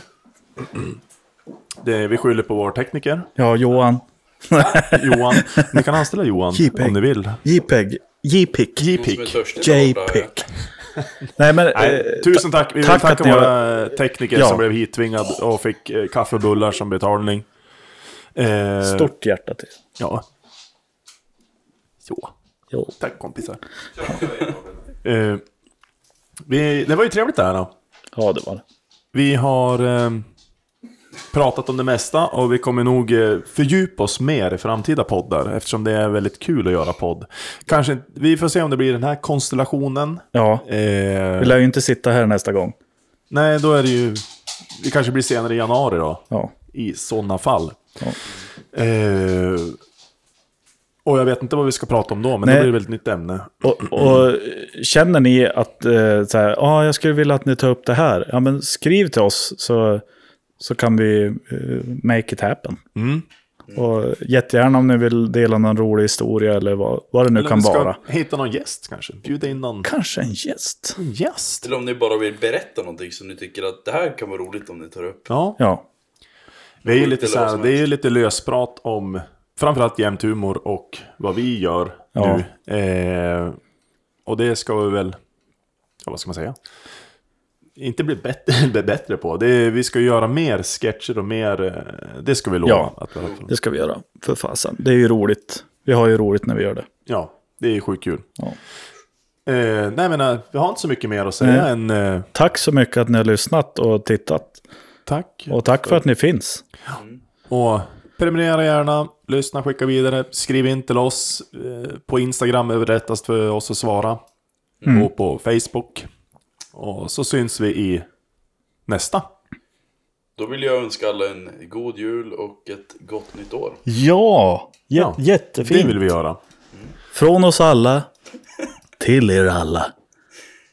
S3: *clears throat* det vi skyller på vår tekniker,
S1: Ja, Johan.
S3: Johan. Ni kan anställa Johan
S1: JPEG.
S3: om ni vill.
S1: JPEG. JPIC.
S2: Som är
S3: JPIC.
S2: törstig där borta, ja.
S1: JPIC. *laughs* Nej men...
S3: Nej,
S1: eh,
S3: tusen tack. Vi vill
S1: tack
S3: tacka
S1: att ni har-
S3: våra tekniker
S1: Ja.
S3: som blev hittvingad och fick eh, kaffebullar som betalning. Eh,
S1: Stort hjärta till.
S3: Ja. Så.
S1: Jo.
S3: Tack kompisar. eh, vi, det var ju trevligt det här då.
S1: Ja, det var det.
S3: Vi har eh, pratat om det mesta och vi kommer nog eh, fördjupa oss mer i framtida poddar eftersom det är väldigt kul att göra podd. Kanske, inte- vi får se om det blir den här konstellationen.
S1: Ja. Vi
S3: Eh,
S1: lär ju inte sitta här nästa gång.
S3: nej, då är det ju... Det kanske blir senare i januari då.
S1: Ja.
S3: I sådana fall.
S1: Ja.
S3: Eh, och jag vet inte vad vi ska prata om då, men
S1: Nej.
S3: det blir väl ett nytt ämne.
S1: Och, och känner ni att eh, så här, ah, jag skulle vilja att ni tar upp det här, ja, men skriv till oss så, så kan vi eh, make it happen.
S3: Mm.
S1: Och jättegärna om ni vill dela någon rolig historia eller vad, vad det nu
S3: Eller
S1: kan
S3: vi ska
S1: vara.
S3: hitta någon gäst kanske. Bjuda in någon
S1: Kanske en gäst.
S3: gäst.
S2: Eller om ni bara vill berätta någonting som ni tycker att det här kan vara roligt om ni tar upp.
S3: Ja,
S1: Ja,
S3: vi är ju lite
S2: Lite
S3: så här,
S2: lös-
S3: det är ju lite lösprat om framförallt jämnt humor och vad vi gör
S1: Ja.
S3: nu. Eh, och det ska vi väl, ja, vad ska man säga? Inte bli *laughs* bättre, bli bättre på. Det är, vi ska ju göra mer sketcher och mer, eh, det ska vi lova.
S1: Ja.
S3: Att, vi har för-
S1: det ska vi göra. För fasen, det är ju roligt. Vi har ju roligt när vi gör det.
S3: ja, det är ju sjukt kul.
S1: Ja.
S3: Eh, nej men eh, vi har inte så mycket mer att säga än eh,
S1: Tack så mycket att ni har lyssnat och tittat.
S3: tack.
S1: Och tack för att ni finns.
S3: Och prenumerera gärna, lyssna, skicka vidare, skriv in till oss. Eh, På Instagram är det lättast för oss att svara. Och på Facebook. Och så syns vi i nästa.
S2: Då vill jag önska alla en god jul och ett gott nytt år.
S1: Ja, jä-
S3: Ja,
S1: jättefint.
S3: Det vill vi göra.
S1: Från oss alla till er alla.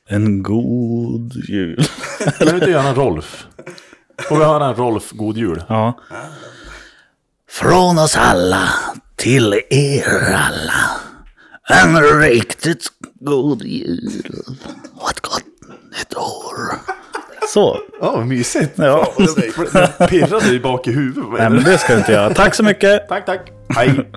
S1: En god jul.
S3: Kan vi inte göra en Rolf? Får vi höra en Rolf God Jul?
S1: Ja.
S4: Från oss alla till er alla. En riktigt god jul och ett gott nytt år.
S1: Så.
S3: Ja, vad mysigt.
S1: Ja.
S2: Vad säger
S3: *laughs* Pirrade i bak i huvudet.
S1: Nej, men det ska jag inte göra. Tack så mycket.
S3: Tack, tack. Hej.